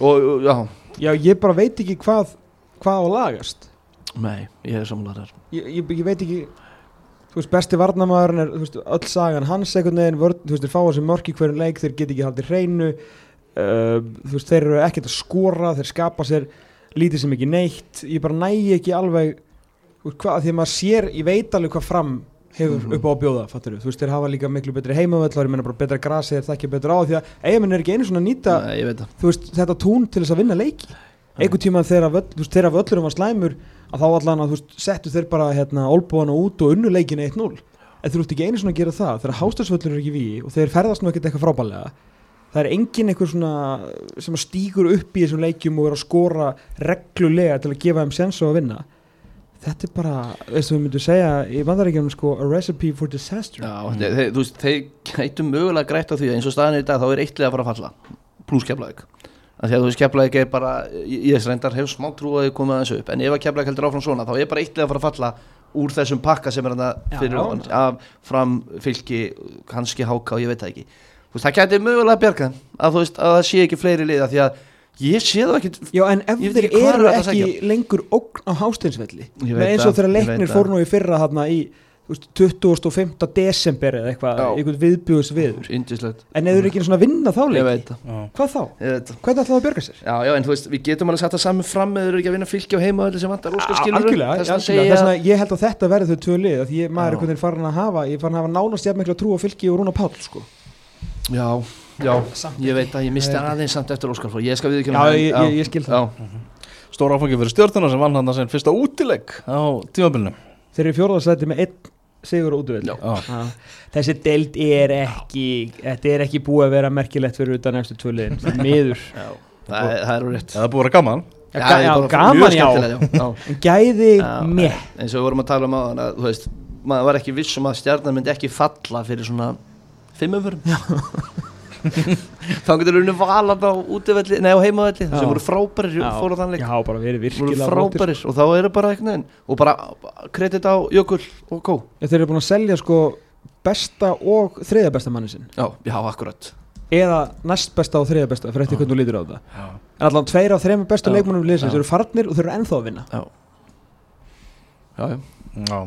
og, já,
já, ég bara veit ekki hvað hvað á að lagast
nei, ég er samanlega þar
ég, ég, ég veit ekki þú veist, besti varnamæðurinn er þú veist, öll sagan hans einhvern veginn vörn, þú veist, þeir fá þessi mörk í hverjum leik þeir get ekki haldið hreinu uh, þú veist, þeir eru ekkert að skora þeir skapa sér lítið sem ekki neitt ég bara nægi ekki alveg þú veist, hvað, því að maður sér, ég veit alveg hvað fram hefur upp á að bjóða, fattur þú veist, þeir hafa líka miklu betri heimavöll þá er ég menna bara betra grasi, þeir þekkja betra á því að eigamenn er ekki einu svona að nýta
nei, ég veit það
þú veist, þetta tún til þess að vinna leiki einhvern tíma þegar, völl, þú veist, þegar völlurum var slæmur að þá allan að þú veist, settu þeir bara hérna, olbúana út og unnu leikina 1-0 en þú ert ekki einu svona að gera það þegar hástöðsvöllur er ekki við og þeir ferðast nú ekkert eitthvað frábælega það er engin einhver svona eh, sem stígur upp í þessum leikjum og er að skora reglulega til að gefa þeim sens á að vinna þetta er bara, veist við myndum segja í bandaríkjum sko, a recipe for disaster
já, þeir, þeir, þú veist, þeir gætu mögulega grætt á því að eins og staðan er í dag þá er eittlið að fara að falla pluss keflaðið Af því að þú veist keflaðið er bara, ég ég þess reyndar hef smá trú að þið komið aðeins upp en ef að keflaðið heldur áfram svona þá er bara eittlið að fara að falla úr þessum pakka sem er hann
Já,
fyrir
já.
ofan af fram fylki, kannski háka og ég veit það ekki þú veist, það gæti mögulega að bjarga þeim, að þú veist að það sé ekki fleiri liða því að ég sé það ekki
Já, en
Ég
ef
veit
þeir
ekki hvað er
eru
hægt að
ekki lengur ógn á hásteinsvelli
Ég
með
veit
eins og
það,
þegar
ég veit
leiknir
það.
fór nú í fyrra þarna í þú þú veist, 25. desember eða eitthvað,
Já.
einhvern viðbjöðs viður
Indislegt
en ef þú eru ekki einu svona að vinna þá
Ég
leiki
veit það,
Já.
hvað þá?
ég veit það
Hvernig ætlaðu að bjarga sér?
Já, já, en þú veist, við getum alveg satt það saman fram eða þeir eru ekki að vinna fylki á heima sem vantar óskarskilur
Algjörlega,
þess að
algjörlega.
segja
Þess vegna ég held að þetta verði þau tvö lið af því ég, maður
Já.
er einhvern veginn farin að hafa ég er farin að hafa nánast jafn mikla trú á fylki og Rúna Páll sko.
Já, já,
Samt
ég veit að ég misti
Nei.
aðeins samt eftir óskarflóð Ég skal við ekki
Já, ég, ég, ég skil það
Já,
Stór áfangi fyrir stjórnuna sem vann hann að segja fyrsta útilegg á tímabilinu
Þeir eru fjórðarsæti með einn sigur og útvöld
Já.
Já.
Þessi deild er ekki þetta er ekki búið að vera merkilegt fyrir utan næstu tvö liðin, því miður
það er- það er rétt
Það er búið að vera gaman
Já, ga-
ég
já,
bara-
gaman
mjög
já,
skemmtilegt, já, já.
en gæði
Já,
mér
eins og við vorum að tala um á þannig að þú veist maður var ekki viss um að stjarnan myndi ekki falla fyrir svona fimmöfurum þá getur unni valan á útivelli, nei á heimavelli
Já.
sem voru frábærir
Já,
fóru þannleik,
Já, bara verið
voru
virkilega flottir,
frábærir og þá eru bara eitthvað neginn og bara kredit á Jökul og Kó
sko. Þeir eru búin að selja sko besta og þriðja besta manni sinn
já, já, akkurat
eða næst besta og þriðja besta fyrir eftir hvernig þú lítur á það en allan tveir af þreima bestu
Já.
leikmannum liðsins
Já.
eru farnir og þeir eru ennþá að vinna
já, já, já,
Já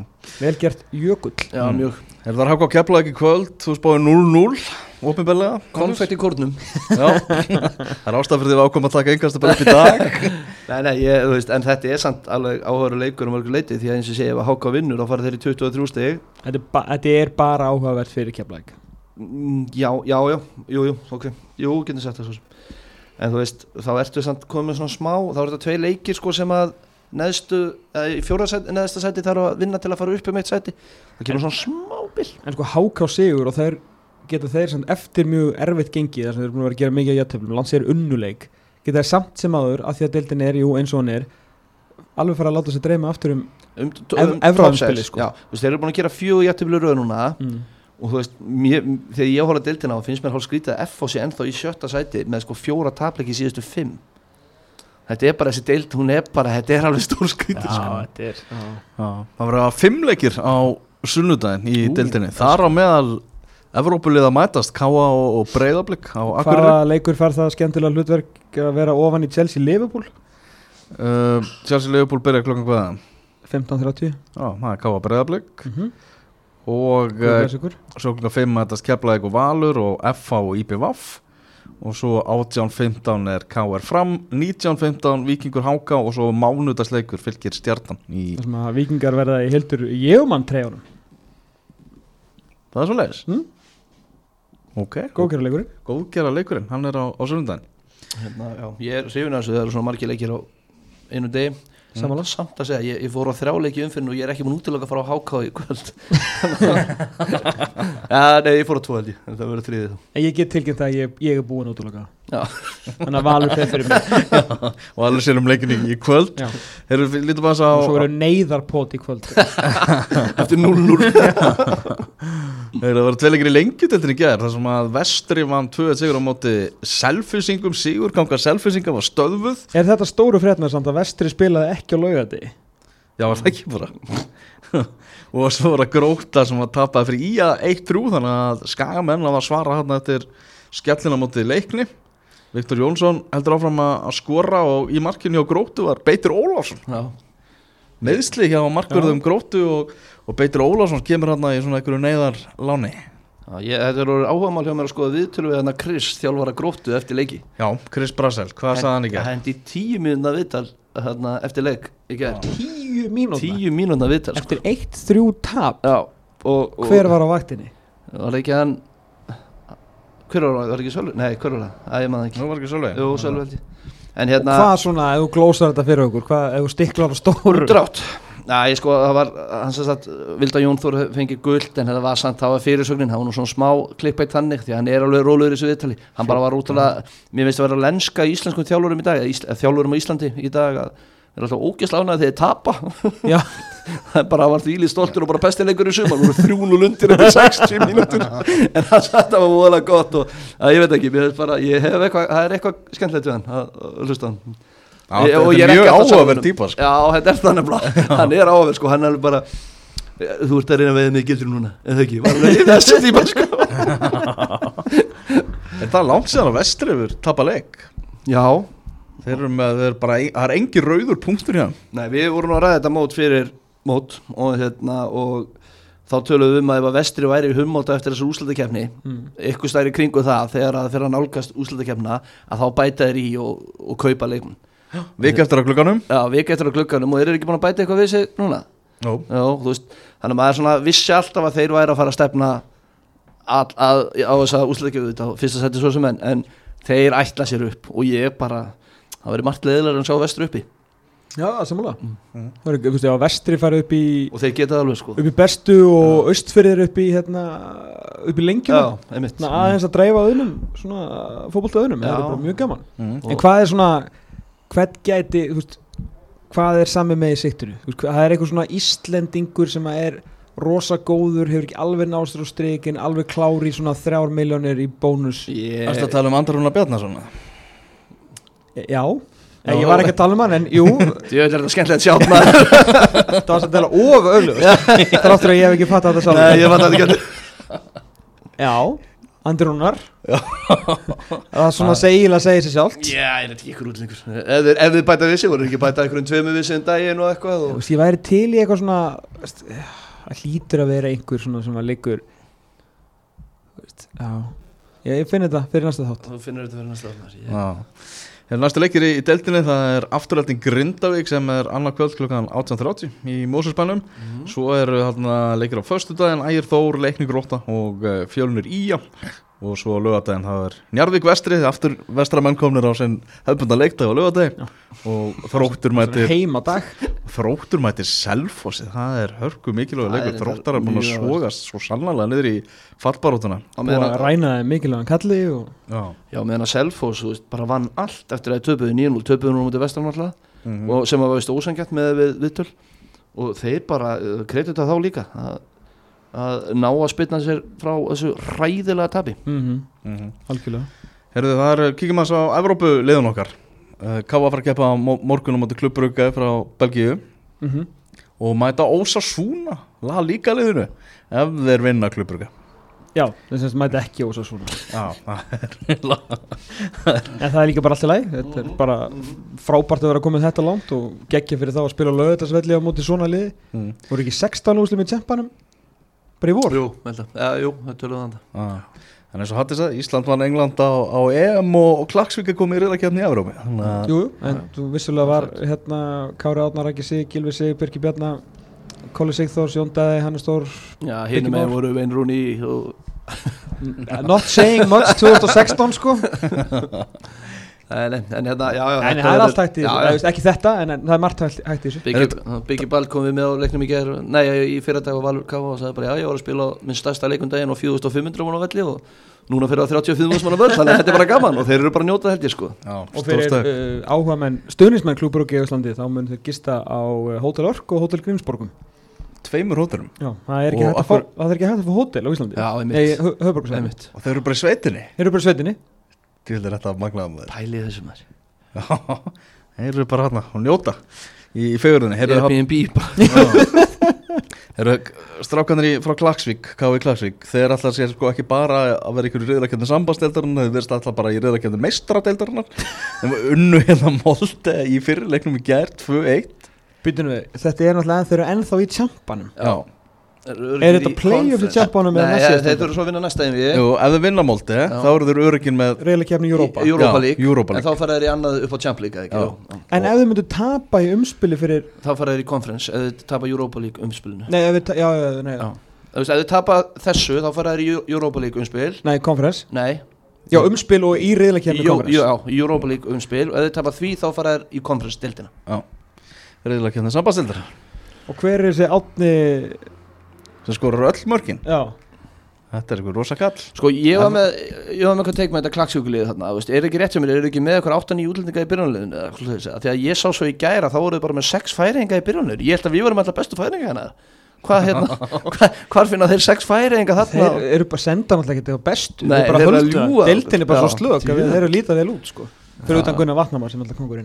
vel gert jökull
já
Mm.
mjög
Er það hafði á kepla ekki kvöld, þú spáði 0-0 Ópinbelega
konfekt í kórnum
Það er ástæð fyrir því að ákvæm að taka einhversta bara upp í dag
nei, nei, ég, þú veist, en þetta er samt alveg áhverju leikur um örgur leiti því að eins og segja ef að háka vinnur þá fara þeir í 23 steg
þetta er, ba þetta er bara áhugavert fyrir keflæk
Mm, Já, já, já, jú, jú, ok Jú, getur sett það svo sem En þú veist, þá ertu samt komið svona smá Þá eru þetta tvei leikir sko sem að Neðstu, eða í fjóra sæti, neðsta sæti þarf að vinna til að fara upp um eitt sæti Það kemur svona smá bil
en sko háká sigur og þeir geta þeir samt eftir mjög erfitt gengi þar sem þeir eru búin að vera að gera mikið á jættöflum lands er unnuleik geta þeir samt sem áður af því að deildin er, jú eins og hann er alveg fara að láta sér dreyma aftur um
um,
Ev- Evrópuspili, sko.
Já, þú veist, þeir eru búin að gera fjögur jættiflu röð núna
mm.
Og þú veist, mér, þegar ég horfði að deildina á Finnst mér hálf skrítið að F á sig ennþá í sjötta sæti Með sko fjóra tapleiki í síðustu fimm Þetta er bara þessi deild, hún er bara Þetta er alveg stór skrítið sko.
þetta er
Já, það verða fimmleikir á sunnudaginn í
Ú,
deildinni Þar á meðal Evrópulið að mætast K.A. og, og Breiðablík á Akureyri
hvaða leikur fær það skemmtilega hlutverk að vera ofan í Chelsea Liverpool
uh, Chelsea Leopold byrja klokkan hvaða
15.30
Já, það er K.A. Breiðablík
Mhm.
mm -hmm.
og uh, svo klokkan 5 mætast Keflavík og Valur og FH og IPVAF og svo 18.15 er KR fram 19.15 Víkingur Háka og svo mánudagsleikur fylgir stjartan í,
þar sem að vikingar verða í hildur Jeumann treyjunum,
það er svo leiðis
Mm.
ok,
góðgerra leikurinn
góðgera leikurinn hann er á, á sunnudaginn
hérna, já, ég er hrifin að þessu, það eru svona margir leikir á einu degi Samanlega samt að segja, ég, ég fór á þrjáleiki umfyrin og ég er ekki múin útilega að fara á háká í kvöld Já, nei, ég fór á tvo held ég, en það verður þriðið þá
en ég get tilkynnt það að ég, ég er búin útloka
Já.
þannig að valur þeir fyrir mig
og alveg sér um leikinni í kvöld
Já.
Heru, lítum að
og svo
það
eru neyðarpót í kvöld
Eftir 0-0
Þeir það var tveil leikir í lengjudeldinni í gær þar sem að vestri vann 2 sigur á móti selfisingum, sigur ganga selfisinga var stöðvuð
er þetta stóru frétnar samt að vestri spilaði ekki á laugati
Já, var það ekki bara Og svo var það gróta sem var tapaði fyrir í að 1-3 Þannig að skagamenn var að svara hann eftir skellina mótið leikni Viktor Jónsson heldur áfram að að skora og í markinu hjá grótu var Beitir Ólafsson
Já,
Meðsli hjá markurðum grótu og, og Beitir Ólafsson kemur hann í svona einhverju neyðarláni
já ég, þetta er orðið áhugamál hjá mér að skoða viðtölu við hennar Chris þjálfara gróttu eftir leiki
Já, Chris Brassel, hvað sagði hann í gær?
Hendi tíu mínúna viðtal hérna, eftir leik, ekki er
tíu mínúna
Tíu mínúna viðtal sko.
eftir eitt þrjú tap
Já, og, og
hver var á vaktinni
Var ekki hann Hver var það, var ekki Sölvi? Nei, hver var það? Æ, ég maður ekki
Nú var ekki svolítið
Jú, Sölvi held ég En
og
hérna
hvað svona, ef þú glósar þetta fyrir okkur hvað, ef þú stiklar á stóru
Drátt Næ, ég sko, það var, hann sem sagt Vilda Jónþór fengi guld en þetta var samt þá að fyrirsögnin, það var nú svona smá klippætt þannig því að hann er alveg rólegur í þessu viðtali hann bara var útrúlega, mér veist að vera lenska í íslenskum þjálfurum í dag, eða ísl, eða þjálfurum á Íslandi í dag að það er alltaf ógæslána þegar þeir tapa
Já.
það er bara, hann var því ílið stoltur og bara bestilegur í sumar, voru þrjún og lundir eftir 60 mínútur en það satt að var voðalega gott og að, ég veit ekki, mér veist bara, ég hef eitthvað, það er eitthvað skemmtilegt við hann, að, að, hlusta á hann Ég- og
Þetta
ég
er mjög
ekki alltaf
áhugaverð
sammála
típa sko.
honum. Já, þetta er það nefnilega Hann er áhugaverð, sko, hann er alveg bara Þú ert að reyna að veiða mig gildur núna Eða ekki, var alveg í þessu tíma, sko
Er það langt séðan að vestri yfir tapa leik?
Já,
Þeir eru með, þeir eru bara, það er engi rauður punktur hjá þeim.
nei, við vorum nú að ræða þetta mót fyrir mót Og hérna, og þá töluðum við um að ef að vestri væri í hummóta eftir þessu úslutakefni
Mm.
ykkur stær í kringu það þegar að fyrir að nálgast úslutakefna að þá bæta þeir í og, og kaupa leikmenn
Vik eftir að glugganum
Já, við getur á glugganum og þeir eru ekki búin að bæta eitthvað við sig núna
Jó.
Já, þú veist, þannig að maður svona vissi alltaf að þeir væri að fara að stefna að, að, á þessa úslutakefni þetta fyrsta seti svo sem enn en þeir ætla sér upp og ég bara það verið margt leðilega en sjá vestur uppi
Já, samanlega
Mm.
Það er, þú veist, ef að vestri fari upp í
og þeir geta það alveg sko
upp í bestu og austfyrir upp í hérna, upp í lengjuna
Já, einmitt
Svona aðeins að dreifa öðnum svona fótbolta öðnum, það er
Já.
bara mjög gaman
Mm.
Og-
En hvað er svona, hvað gæti þú veist, hvað er sami með í siktinu Þú veist, hvað- það er eitthvað svona Íslendingur sem að er rosa góður hefur ekki alveg nástur á streikin alveg klári svona þrjár miljónir í bónus
Ég-
Erstu að tala um Andar Rúna Bjarnason
Já, Nei, ég var ekki að tala um hann en jú,
Ég veit að þetta er skemmtilegt sjátt maður
það var samt að tala of öllu þráttur að ég hef ekki fattað þetta
Nei,
sjálf
ég fatt að þetta getur
Já, Andri Rúnar Það er svona segilega segir sér sjálft
Já, ég veit ekki ykkur út lengur Ef þeir, ef þeir bæta við sig, voru þeir ekki að bæta ykkur um tveimu við sig en daginn og eitthvað
Þú
og...
veist, ég væri til í eitthvað svona veist, að hlýtur að vera einhver svona sem að liggur Þú veist, já ég, ég finn þetta fyrir næsta þátt
Þú finnur þetta verið næsta ofnar ég...
Hérna næstu leikir í, í deltinni það er afturhaldin Grindavík sem er annað kvöld klukkan 18.30 í Mósusbænum
Mhm.
svo eru þarna leikir á föstudaginn Ægir Þór, Leikni Gróta og uh, Fjölnir Ía og svo á lögadaginn það er Njarðvík Vestri, aftur vestramenn komnir á sinn hefbunda leikdag á lögadaginn og þróttur mætir
heima dag
Þróttur mættir Selfossi, það er hörku mikilvægur
Það er
leikur,
reyndar
þróttar er búin að
mjög
sogast svo sannlega niður í fallbarótuna
Á
og
meðan
að
að,
ræna þeim mikilvægan kalli og
Já,
já, meðan að Selfoss, þú veist, bara vann allt eftir að þeir töpuðu 9-0, töpuðu nú mútið vestan alltaf
Mhm,
mm
og sem að var veist ósangjart með við, viðtöl og þeir bara uh, kreitu þetta þá líka að, að ná að spilna sér frá þessu ræðilega tabi
mm
-hmm.
algjörlega
Herðu, það er, kíkjum aðeins á Evrópu liðun okkar Eh, Káa fara að keppa á mo- morgun á móti klubbrugga frá Belgíu
mm
og mæta Ósa Súna, la líka liðinu ef þeir vinna klubbrugga
já, það semst mæti ekki ósa svona
Já, það
en það er líka bara allt í læg þetta er bara frábært að vera komið þetta langt og geggja fyrir þá að spila lögutarsvelli á móti svona liði
mm.
voru ekki 16 úslim í tjempanum bara í vor
Jú, melda, ja, jú, það töluðu þannig
ah. En eins og hattis að Ísland vann England á, á EM og, og Klagsvík er komið í riðakefni í Evrópu Þannig að
Jú, jú, en þú vissulega var hérna Kári Átnar, Rækki Sig, Gilvi Sig, Birki Bjarnar Kóli Sigþórs, Jón Dæði, Hannes Þór
Já,
Birgir
hinum með
Már.
voru Vein Rúni og
Not saying much 2016 sko En
Nei, nei, en hérna, já, já þetta
það er allt hægt í
já, já.
þessu, Eða, þú veist, ekki þetta en, en það er margt hægt hægt í þessu
Er
Biggi Biggi Ball kom við með á leiknum í gerð Nei, í fyrardag var Valur Kafa og sagði bara Já, ég var að spila á minn stærsta leikundaginn á 4500 mann á velli og núna fyrir á 35.000 mann á völl þannig að þetta er bara gaman og þeir eru bara að njóta held ég sko
Já,
Og fyrir
stórstak.
uh, áhugamenn, stuðnismenn klúburúki í Íslandi þá mun þeir gista á uh, Hotel Ork og Hotel Grímsborgum
tveimur hóturum
Já, það er ekki
Og
hægt að fá
okkur-
það er ekki hægt að fá hótel á Íslandi
Já,
Nei,
einmitt,
höfbruksæðin
einmitt.
og þau eru bara í sveitinni
Þeir eru bara í sveitinni
til er þetta að magnaða með
Pælið þessum þær
þeir þeir eru bara hérna og njóta í, í fegurðinni Heyrðu,
Airbnb bara
Já. Eru strákanir í, frá Klagsvík, KV Klagsvík, þeir alltaf sér sko ekki bara að vera ykkur í reyðrakjöndin sambasteldarinnar, þeir verðist alltaf bara í reyðrakjöndin meistradeldarinnar, þeim unnu hérna Molde í fyrirleiknum í gær 2-1.
Býtum við, þetta er náttúrulega þeir eru ennþá í tjampanum
Já.
Er þetta play-off í Champions-unum eða
Nei,
næst
ja,
síðasta?
þeir eru svo að vinna næsta en við
Jú, ef þeir vinna Molde,
Já.
þá eru þeir örugin með
Reyla kefni í Europa
Í- Europa
Já,
League
Europa
En
League.
þá fara þeir í annað upp á Champ League eða
Já.
ekki? Já.
En ef þið myndu tapa í umspili fyrir
Þá fara þeir í Conference eða þeir tapa Europa League umspilinu
Nei, ef þið ta- já, já, já, nei,
Já. Þú veist, ef þið tapa þessu þá fara þær í Eu- Europa League umspil
nei, konferens
Nei,
Já, umspil og í reyðlakefni
Jó,
konferens
já, í Europa League umspil og ef þið tapa því þá fara þær í konferensdildina
reyðrakjöndin sambasteldarinnar,
Og hver er þessi átni
sem skorur öll mörkin.
Já,
Þetta er ykkur rosa kall.
Sko, ég var með, ég var með eitthvað teik með þetta klaksjúkulið þarna, þú veist, er ekki rétt hjá mér, er ekki með eitthvað 8-9 útlendinga í byrjanleginu eða hvað þessi, þegar ég sá svo í gæra þá voruð bara með 6 færinga í byrjanleginu, ég held að við vorum alltaf bestu færinga hérna, hvað hérna, hva, hvar finna þeir 6 færinga þarna?
þeir eru bara senda náttúrulega ekki til á bestu
Nei,
Þeir bara
þeir eru að
höldu
ljúga.
Deildin er bara
Já,
svo slög að
djú.
Þeir eru lítið vel út, sko Fyrir
Já.
utan Gunnar Vatnamar sem er alltaf kongurinn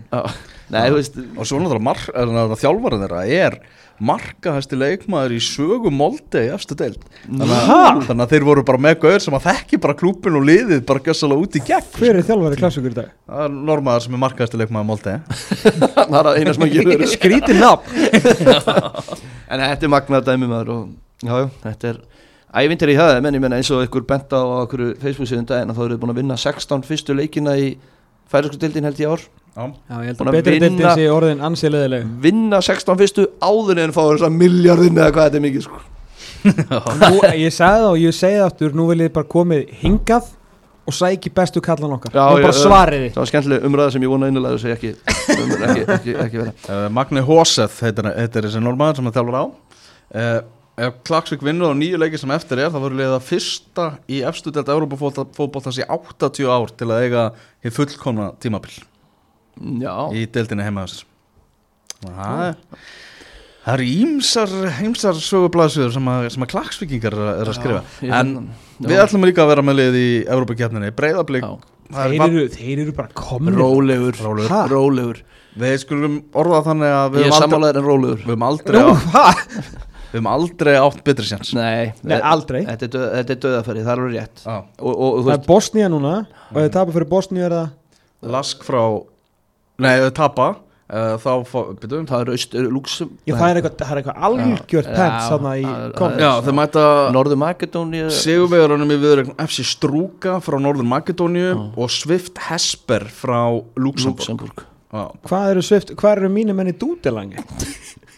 Nei, þú veist,
Og svo náttúrulega mar- er það þjálfarið þeirra er markahæsti leikmaður í sögu Molde í efstu deild. Þannig að, þannig að þeir voru bara með gauður sem að þekki bara klúpin og liðið bara gjössalega út í gegn.
Hver er þjálfari klassíkur í dag?
Það er normaður sem er markahæsti leikmaður Molde.
það er að eina sem að gera
Skrítið nafn
en þetta er magnað dæmi maður og Já, já, þetta er ævindir í það, menn ég menna eins og ykkur bent á okkur Facebook síðan daginn að þá eru þið búin að vinna 16 fyrstu leikina í færisku dildin held ég ár
Já, ég held
Búin
að
að
betri
vinna-
deildin sé orðin ansiðleðileg
vinna 16 fyrstu áður en fá þess að miljardin eða hvað þetta er mikið sko.
Nú, ég sagði það og ég segi það aftur nú vil ég bara komið hingað og sæki bestu kallan okkar
Já,
já, og bara
já, já.
svarið þið
Það var skemmtileg umræða sem ég vona innilega þess að ég ekki, ekki, ekki, ekki vera
Uh, Magni Hóseth, heitir, heitir þessi normaður sem það þjálfur á uh, Ef Klagsvík vinnur á nýju leiki sem eftir er þá voru liða fyrsta í efstu delt Európa-fótboltans í 80 ár til að eiga hér fullkomna tímabil
Já,
í deltinni heima þess Það er Það eru ímsar, ímsar sögublaðsöður sem að, sem að klagsvíkingar er að skrifa
ég-
En
já.
við ætlum líka að vera með lið í Európa-kefninni Breiðablík
Já.
það er
þeir,
val-
eru- þeir eru bara komin
Rólegur,
Rólegur.
Ha? rólegur.
Við skulum orða þannig að við
Ég er
höfum aldrei,
sammálaður en rólegur
við höfum aldrei,
Nú,
á-
hvað?
við höfum aldrei átt betri sjans
Nei,
Nei,
þe-
aldrei
Þetta er, döð, þetta er döðafæri, það er alveg rétt
Já
og, og, og þú
Það
veist, Mm.
er Bosnía núna og ef þið tapar fyrir Bosnía er það
Lask frá Nei, ef þau tapa uh, Þá fá, byrjuðum
það er austur, lúksum
Já, það er eitthvað, það er eitthvað algjört
Já,
pent þarna í
það er-
komið
Já, þau mæta
Norður Makedóni
Sigurvegarunum í viðurögn FC Strúka frá Norður Makedóniu og Swift Hesper frá Luxemburg
Lúksemburg
Já,
Hvað eru, Swift, hvað eru mínu menni dútelangi?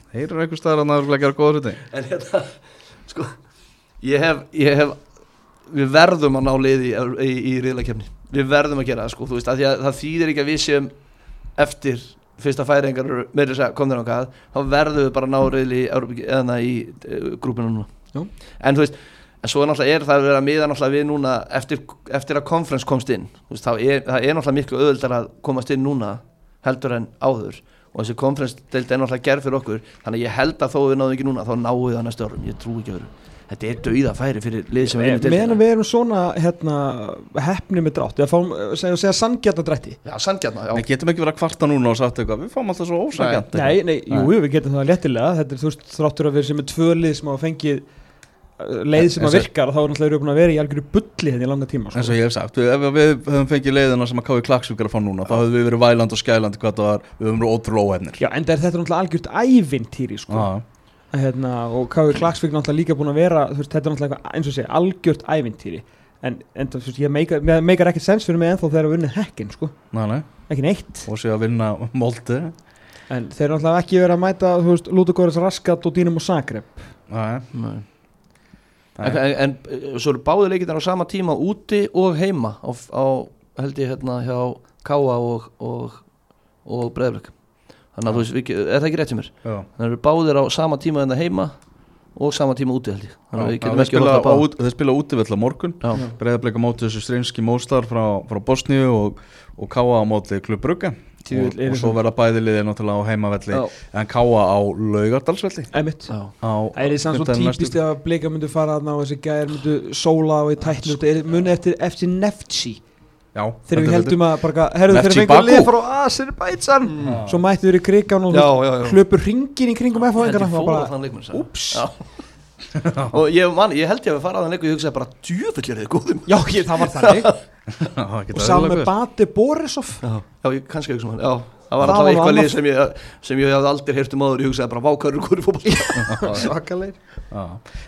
Þeir eru einhvers staðar að það er að gera góða hluti
En hérna, sko Ég hef, ég hef Við verðum að ná liði í, í, í riðlakefni Við verðum að gera það, sko Þú veist, að því að það þýðir ekki að við séum Eftir fyrsta færingar Meiri að komður á hvað Þá verðum við bara að ná riðli í, Evrópu- eða na, í uh, grúpinu núna
Já.
En þú veist En svo náttúrulega er það að vera að miða náttúrulega við núna eftir, eftir að konferens komst inn þú veist, þá er, það er náttúrulega miklu auðvöldar að komast inn núna heldur en áður og þessi konferens er náttúrulega gerð fyrir okkur þannig að ég held að þó við náðum ekki núna þá náum við það næstu árum, ég trú ekki öðru þetta er dauða færi fyrir lið sem er inn í
Meðan
deildina
við erum svona hérna, hefni með drátt eða fáum, segja, segja sanngjarna drætti
Já, sangjarna, já,
Við getum ekki verið að kvarta núna og sagt eitthvað Við fáum alltaf svo ósækjant
Nei, nei, jú, við getum það léttilega Þetta er þú veist þráttur að við sem er tvölið sem hafa fengið uh, leið sem að
Þessi-
virkar þá er náttúrulega erum við búin að vera í algjöru bulli hérna í langa tíma
eins
sko.
og ég hef sagt, við, ef við höfum fengið leiðina sem að káði klagsvíkar að fá núna, þá höfum við verið væland og skæland hvað það var, við höfum verið ótrúlega óhefnir
Já, en þetta er náttúrulega algjört ævintýri sko.
Já.
Að, hérna, og Káði Klagsvík náttúrulega líka búin að vera þú veist, þetta er náttúrulega eitthvað, eins og segja, algjört ævintýri en, en þú veist, ég meikar, mér meikar ekkert sens fyrir mig ennþá þegar við unnið hekkin sko.
Nei, nei.
ekki neitt,
og sé að vinna moldi
en þeir eru náttúrulega ekki verið að mæta þú veist, Lúdugóris Raskat og Dínum og Sakrep
Nei.
Nei.
Nei.
En, en, en svo eru báði leikirnar á sama tíma úti og heima á, á held ég hérna hjá Káa og, og, og Breiðablökk þannig að þú veist, við ge- er það ekki rétt hjá mér
Já.
þannig að eru báðir á sama tíma en það heima og sama tíma úti held ég þannig að við
Já,
getum
þeir
ekki
spila
horft
á
á báða
út- þeir spila útivöll á morgun
Já.
breyðarbleika móti þessu strinski móstar frá, frá Bosníu og, og Káa á móti klubbrugga og,
Djöfull, eru
og svo
það-
verða bæði liðið náttúrulega á heimavelli
Já.
en Káa á laugardalsvelli
Emitt
Já.
á-
Það er það svona
fimmtudaginn næstu.
típist ef að blika myndu fara þarna og þessi gæjar myndu sóla og í tætlu þetta muni eftir, eftir Neftsi
Já,
þegar
heldur
við heldum að bara herðu þegar
Neftchi
við einhver lið
Baku.
frá Azerbaijan
betur.
svo mættu þeir í krigan og
Já, já, já.
hlöpu ringin í kringum FH
held
engarna
ég
og
fór á
bara
þann leikmann sagði.
ups
Já. og ég, man, ég held ég að fara á þann leik og ég hugsaði bara djöfull er þið góðum
já ég, það var þannig
Já, það
og
geta
sá
verið
með
alveg
Bate Borisov
já, já ég kannski hugsa um hann já Það var
Það
alltaf
var
eitthvað
annað-
lið sem ég, sem ég hafði aldrei heyrt um áður, ég hugsaði bara vákarur hverju fótball.
svakalegir
verið. Já.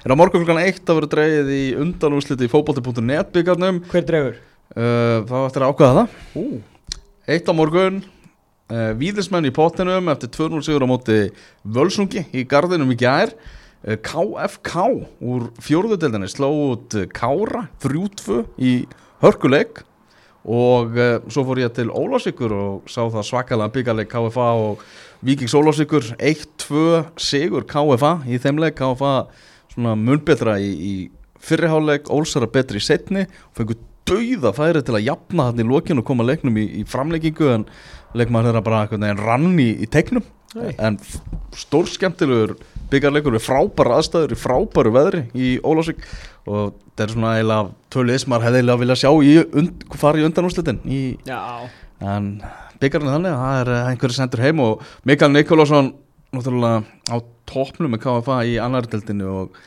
En á morgun klukkan eitt að vera dreigið í undanúsliti í fótbolti.net byggarnum
hver dregur?
uh, þá eftir að ákvaða það Eitt á morgun uh, Víðismenn í pottinum eftir 2-0 sigur á móti Völsungi í gardinum í gær uh, KFK úr fjórðudeldinni sló út eh, Kára 3-2 í hörkuleik og uh, svo fór ég til Ólásíkur og sá það svakalega byggarleik KFA og Víkings Ólásíkur 1-2 sigur KFA í þeimleik KFA svona munbetra í, í fyrriháleik, Ólsara betri í setni og fengur dauða færi til að jafna hann í lokin og koma leiknum í, í framleikingu en leikmaður þeirra bara einhvern veginn rann í, í teiknum
Nei.
en stór skemmtilegur byggarleikur við frábæra aðstæður í frábæru veðri í Ólásvík og þetta er svona eiginlega tölvið sem maður hefði eiginlega viljað sjá í und, fara í undanúslitin í,
já
en byggarinn er þannig að það er eh, einhverju sendur heim og Mikael Nikolásson náttúrulega á toppnum með KFA í annardeldinu og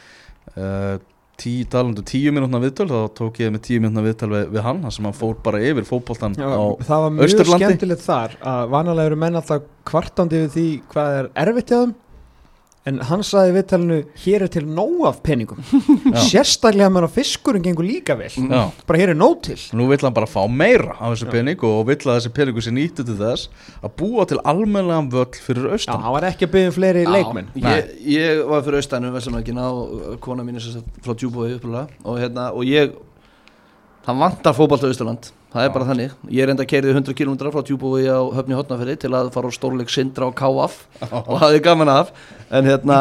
uh, tíu talandu tíu mínútna viðtöl þá tók ég með tíu mínútna viðtöl við, við hann þar sem hann fór bara yfir fótboltan
Já,
á
það var mjög
Austurlandi.
skemmtilegt þar að vanalega eru menn alltaf kvartandi við því hvað er erfitt hjá þeim en hann sagði í viðtalinu hér er til nóg af peningum sérstaklega meðan að fiskurinn gengur líka vel
Já.
bara hér er nóg til
Nú vill hann bara fá meira af þessu pening og vill að þessi peningu sé nýttu til þess að búa til almennlegan völl fyrir
Já,
austan.
hann var ekki að byggja um fleiri leikmenn
ég, ég var fyrir austanum Vestamækina og kona mín er sem sagt frá Djúbói upplega og, hérna, og ég það vantar fótballt á Austaland það er bara þannig, ég reynda að keiriði 100 km frá Djúbói á Höfni Hotnaferði til að fara á stórleik Sindra og KF og hafði gaman af en hérna,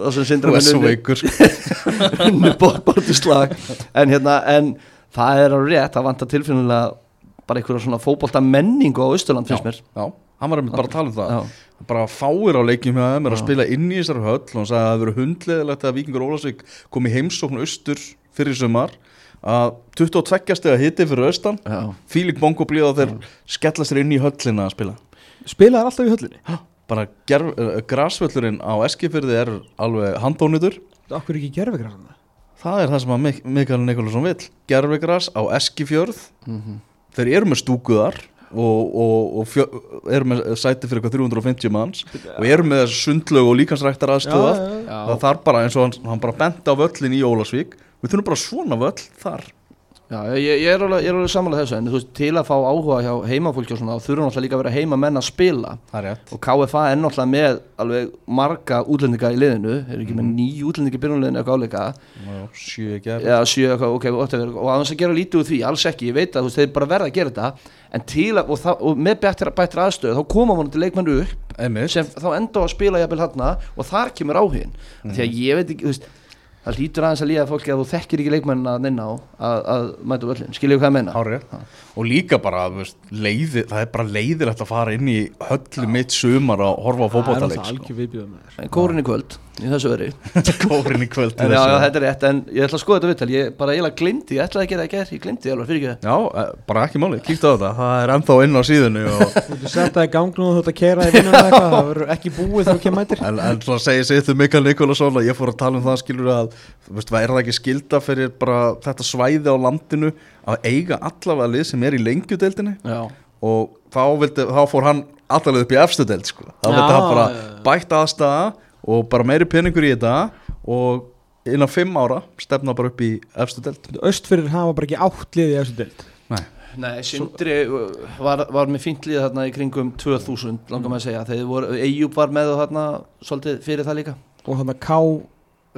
það sem Sindra
Þú er
menn
svo
unni
veikur. sko.
unni bortislag en hérna, en það er á rétt það vantar tilfinnilega bara einhverja svona fótballta menningu á Austaland finnst mér
Já, hann var einmitt bara að tala um það.
Já.
Bara fáir á leikjum hjá þeim er að
Já.
spila inn í þessar höll og hann sagði að það hefur verið hundleðilegt að Víkingur Ólafsvík kom í heimsókn austur fyrir sumar að 22 steg hiti fyrir austan
Já.
Fílik Bongo blíða þeir skella sér inn í höllina að spila
spilaði hann alltaf í höllinni
bara gerf, eh, grasvöllurinn á Eskifyrði er alveg handónýtur
okkur ekki gerfi grann
það er það sem að Mik Mikael Nikolásson vill gerfigras á Eskifjörð
Mhm.
þeir eru með stúkuðar og, og, og fjö, eru með sæti fyrir eitthvað 350 manns og eru með þessu sundlög og líkansræktar aðstöðað það þarf bara eins og hann, hann bara benti á völlin í Ólasvík við þurfum bara svona völl þar
Já, ég, ég er alveg, ég er alveg samanlega þessu en þú veist, til að fá áhuga hjá heimafólki og svona þá þurfa náttúrulega líka að vera heimamenn að spila
það er rétt
og KFA er náttúrulega með alveg marga útlendinga í liðinu er ekki með nýju útlendinga í byrjunliðinu eitthvað áleika
sjö ekki
eða sjö eitthvað, ok, whatever og aðeins að gera lítið úr því, alls ekki, ég veit að þú veist, þeir bara verða að gera þetta en til að, og, það, og með bættir, bættir aðstöð þá koma vonandi leikmenn upp
einmitt
sem þá enda á að spila jafnvel hérna og þar kemur áhugin því að ég veit ekki, þú veist það lítur aðeins að líða fólki að þú þekkir ekki leikmennina að á að, að mæta völlin, skilju hvað ég meina
Hárið. og líka bara þú veist, leiði, það er bara leiðilegt að fara inn í höllu mitt sumar að horfa á fótballtaleik sko.
viðbjöðum
Kórin í kvöld, í þessu veri
kórin í kvöld til
En já, já,
þessu.
þetta er rétt, en ég ætla að skoða þetta viðtal Ég bara eiginlega glindi, ég ætlaði að gera það í gær Ég glindi alveg fyrir ekki
Já, eh, bara ekki máli, kíktu á þetta, það er ennþá inn á síðunni og,
Þú ert að setja í gang nú og þú ert að kera í vinnuna eitthvað það verður ekki búið þegar þú kemur mætir
en, en svona segir sig þetta Mikael Nikolásson að ég fór að tala um það skilur að, þú veist, er það ekki skilda fyrir bara þetta svæði á landinu að eiga allavega lið sem er í lengjudeildinni
Já,
og þá, vildi, þá fór hann allavega upp í efstudeld sko. þá
Já,
vildi hann bara
já, já.
bætt aðstæða og bara meiri peningur í þetta og innan fimm ára stefna bara upp í efstudeld
Östfyrir hafa bara ekki átt liðið í þessu deild
nei, Sindri uh, var, var með fínt líða þarna í kringum 2000 langar maður að segja, þegar voru Eyjúb var með og þarna, svolítið fyrir það líka
og þannig að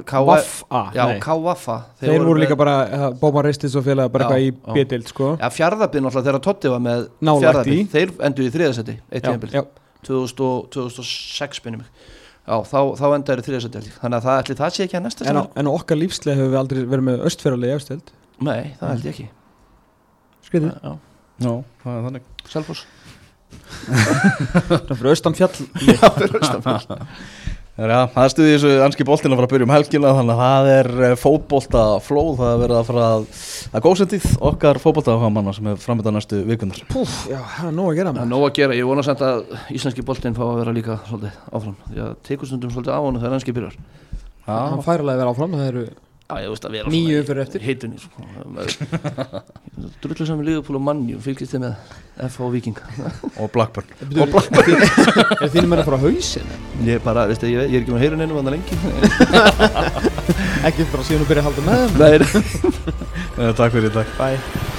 KVA
Já, K.Vaffa
þeir voru líka bara Bóma Reistins og félaga bara
Já,
eitthvað í
já.
B-deild sko
Já, fjárðabinn alltaf þegar Totti var með
Nálægt
Fjarðabyggð,
í.
Þeir endur í þriðasetti, eitt
Já,
tímabil
já.
2000 og- 2006 minnum Já, þá, þá endaður í þriðasetti held ég. Þannig að það, ætli, það sé ekki að næsta
en á,
sem-
en á okkar lífslega hefur við aldrei verið með östfyrarlega í þessu deild
Nei, það held ég ekki
skriðið
Já,
Já, það er þannig
Selfoss
það fyrir austan fjall
Það er, Já, það stuði þessu anski boltin að fara að byrja um helgina þannig að það er fótbolta flóð það er verið að fara að, að góðsendið okkar fótbolta áhamanna sem er framönda næstu vikundar
Púf, já, það er nóg að gera
Það er
með
nóg að gera, ég vona samt að íslenski boltinn fá að vera líka svolítið áfram því að tekur stundum svolítið á hann þegar ennski byrjar
hann fær alveg að vera áfram það eru
Já, ég veist að vera
Níu umferðir eftir.
Hittunni sko. Drullu saman Ligapúl og Manni og fylgist þið með F.O. Viking
og Blackburn
og blakkbæri er þínum er að fara á hausin
Ég er bara, veistu, ég, ég er ekki með heyrun einum að það lengi
ekki bara síðan að byrja að halda með þeim
Nei,
Eh, Takk fyrir í dag
bye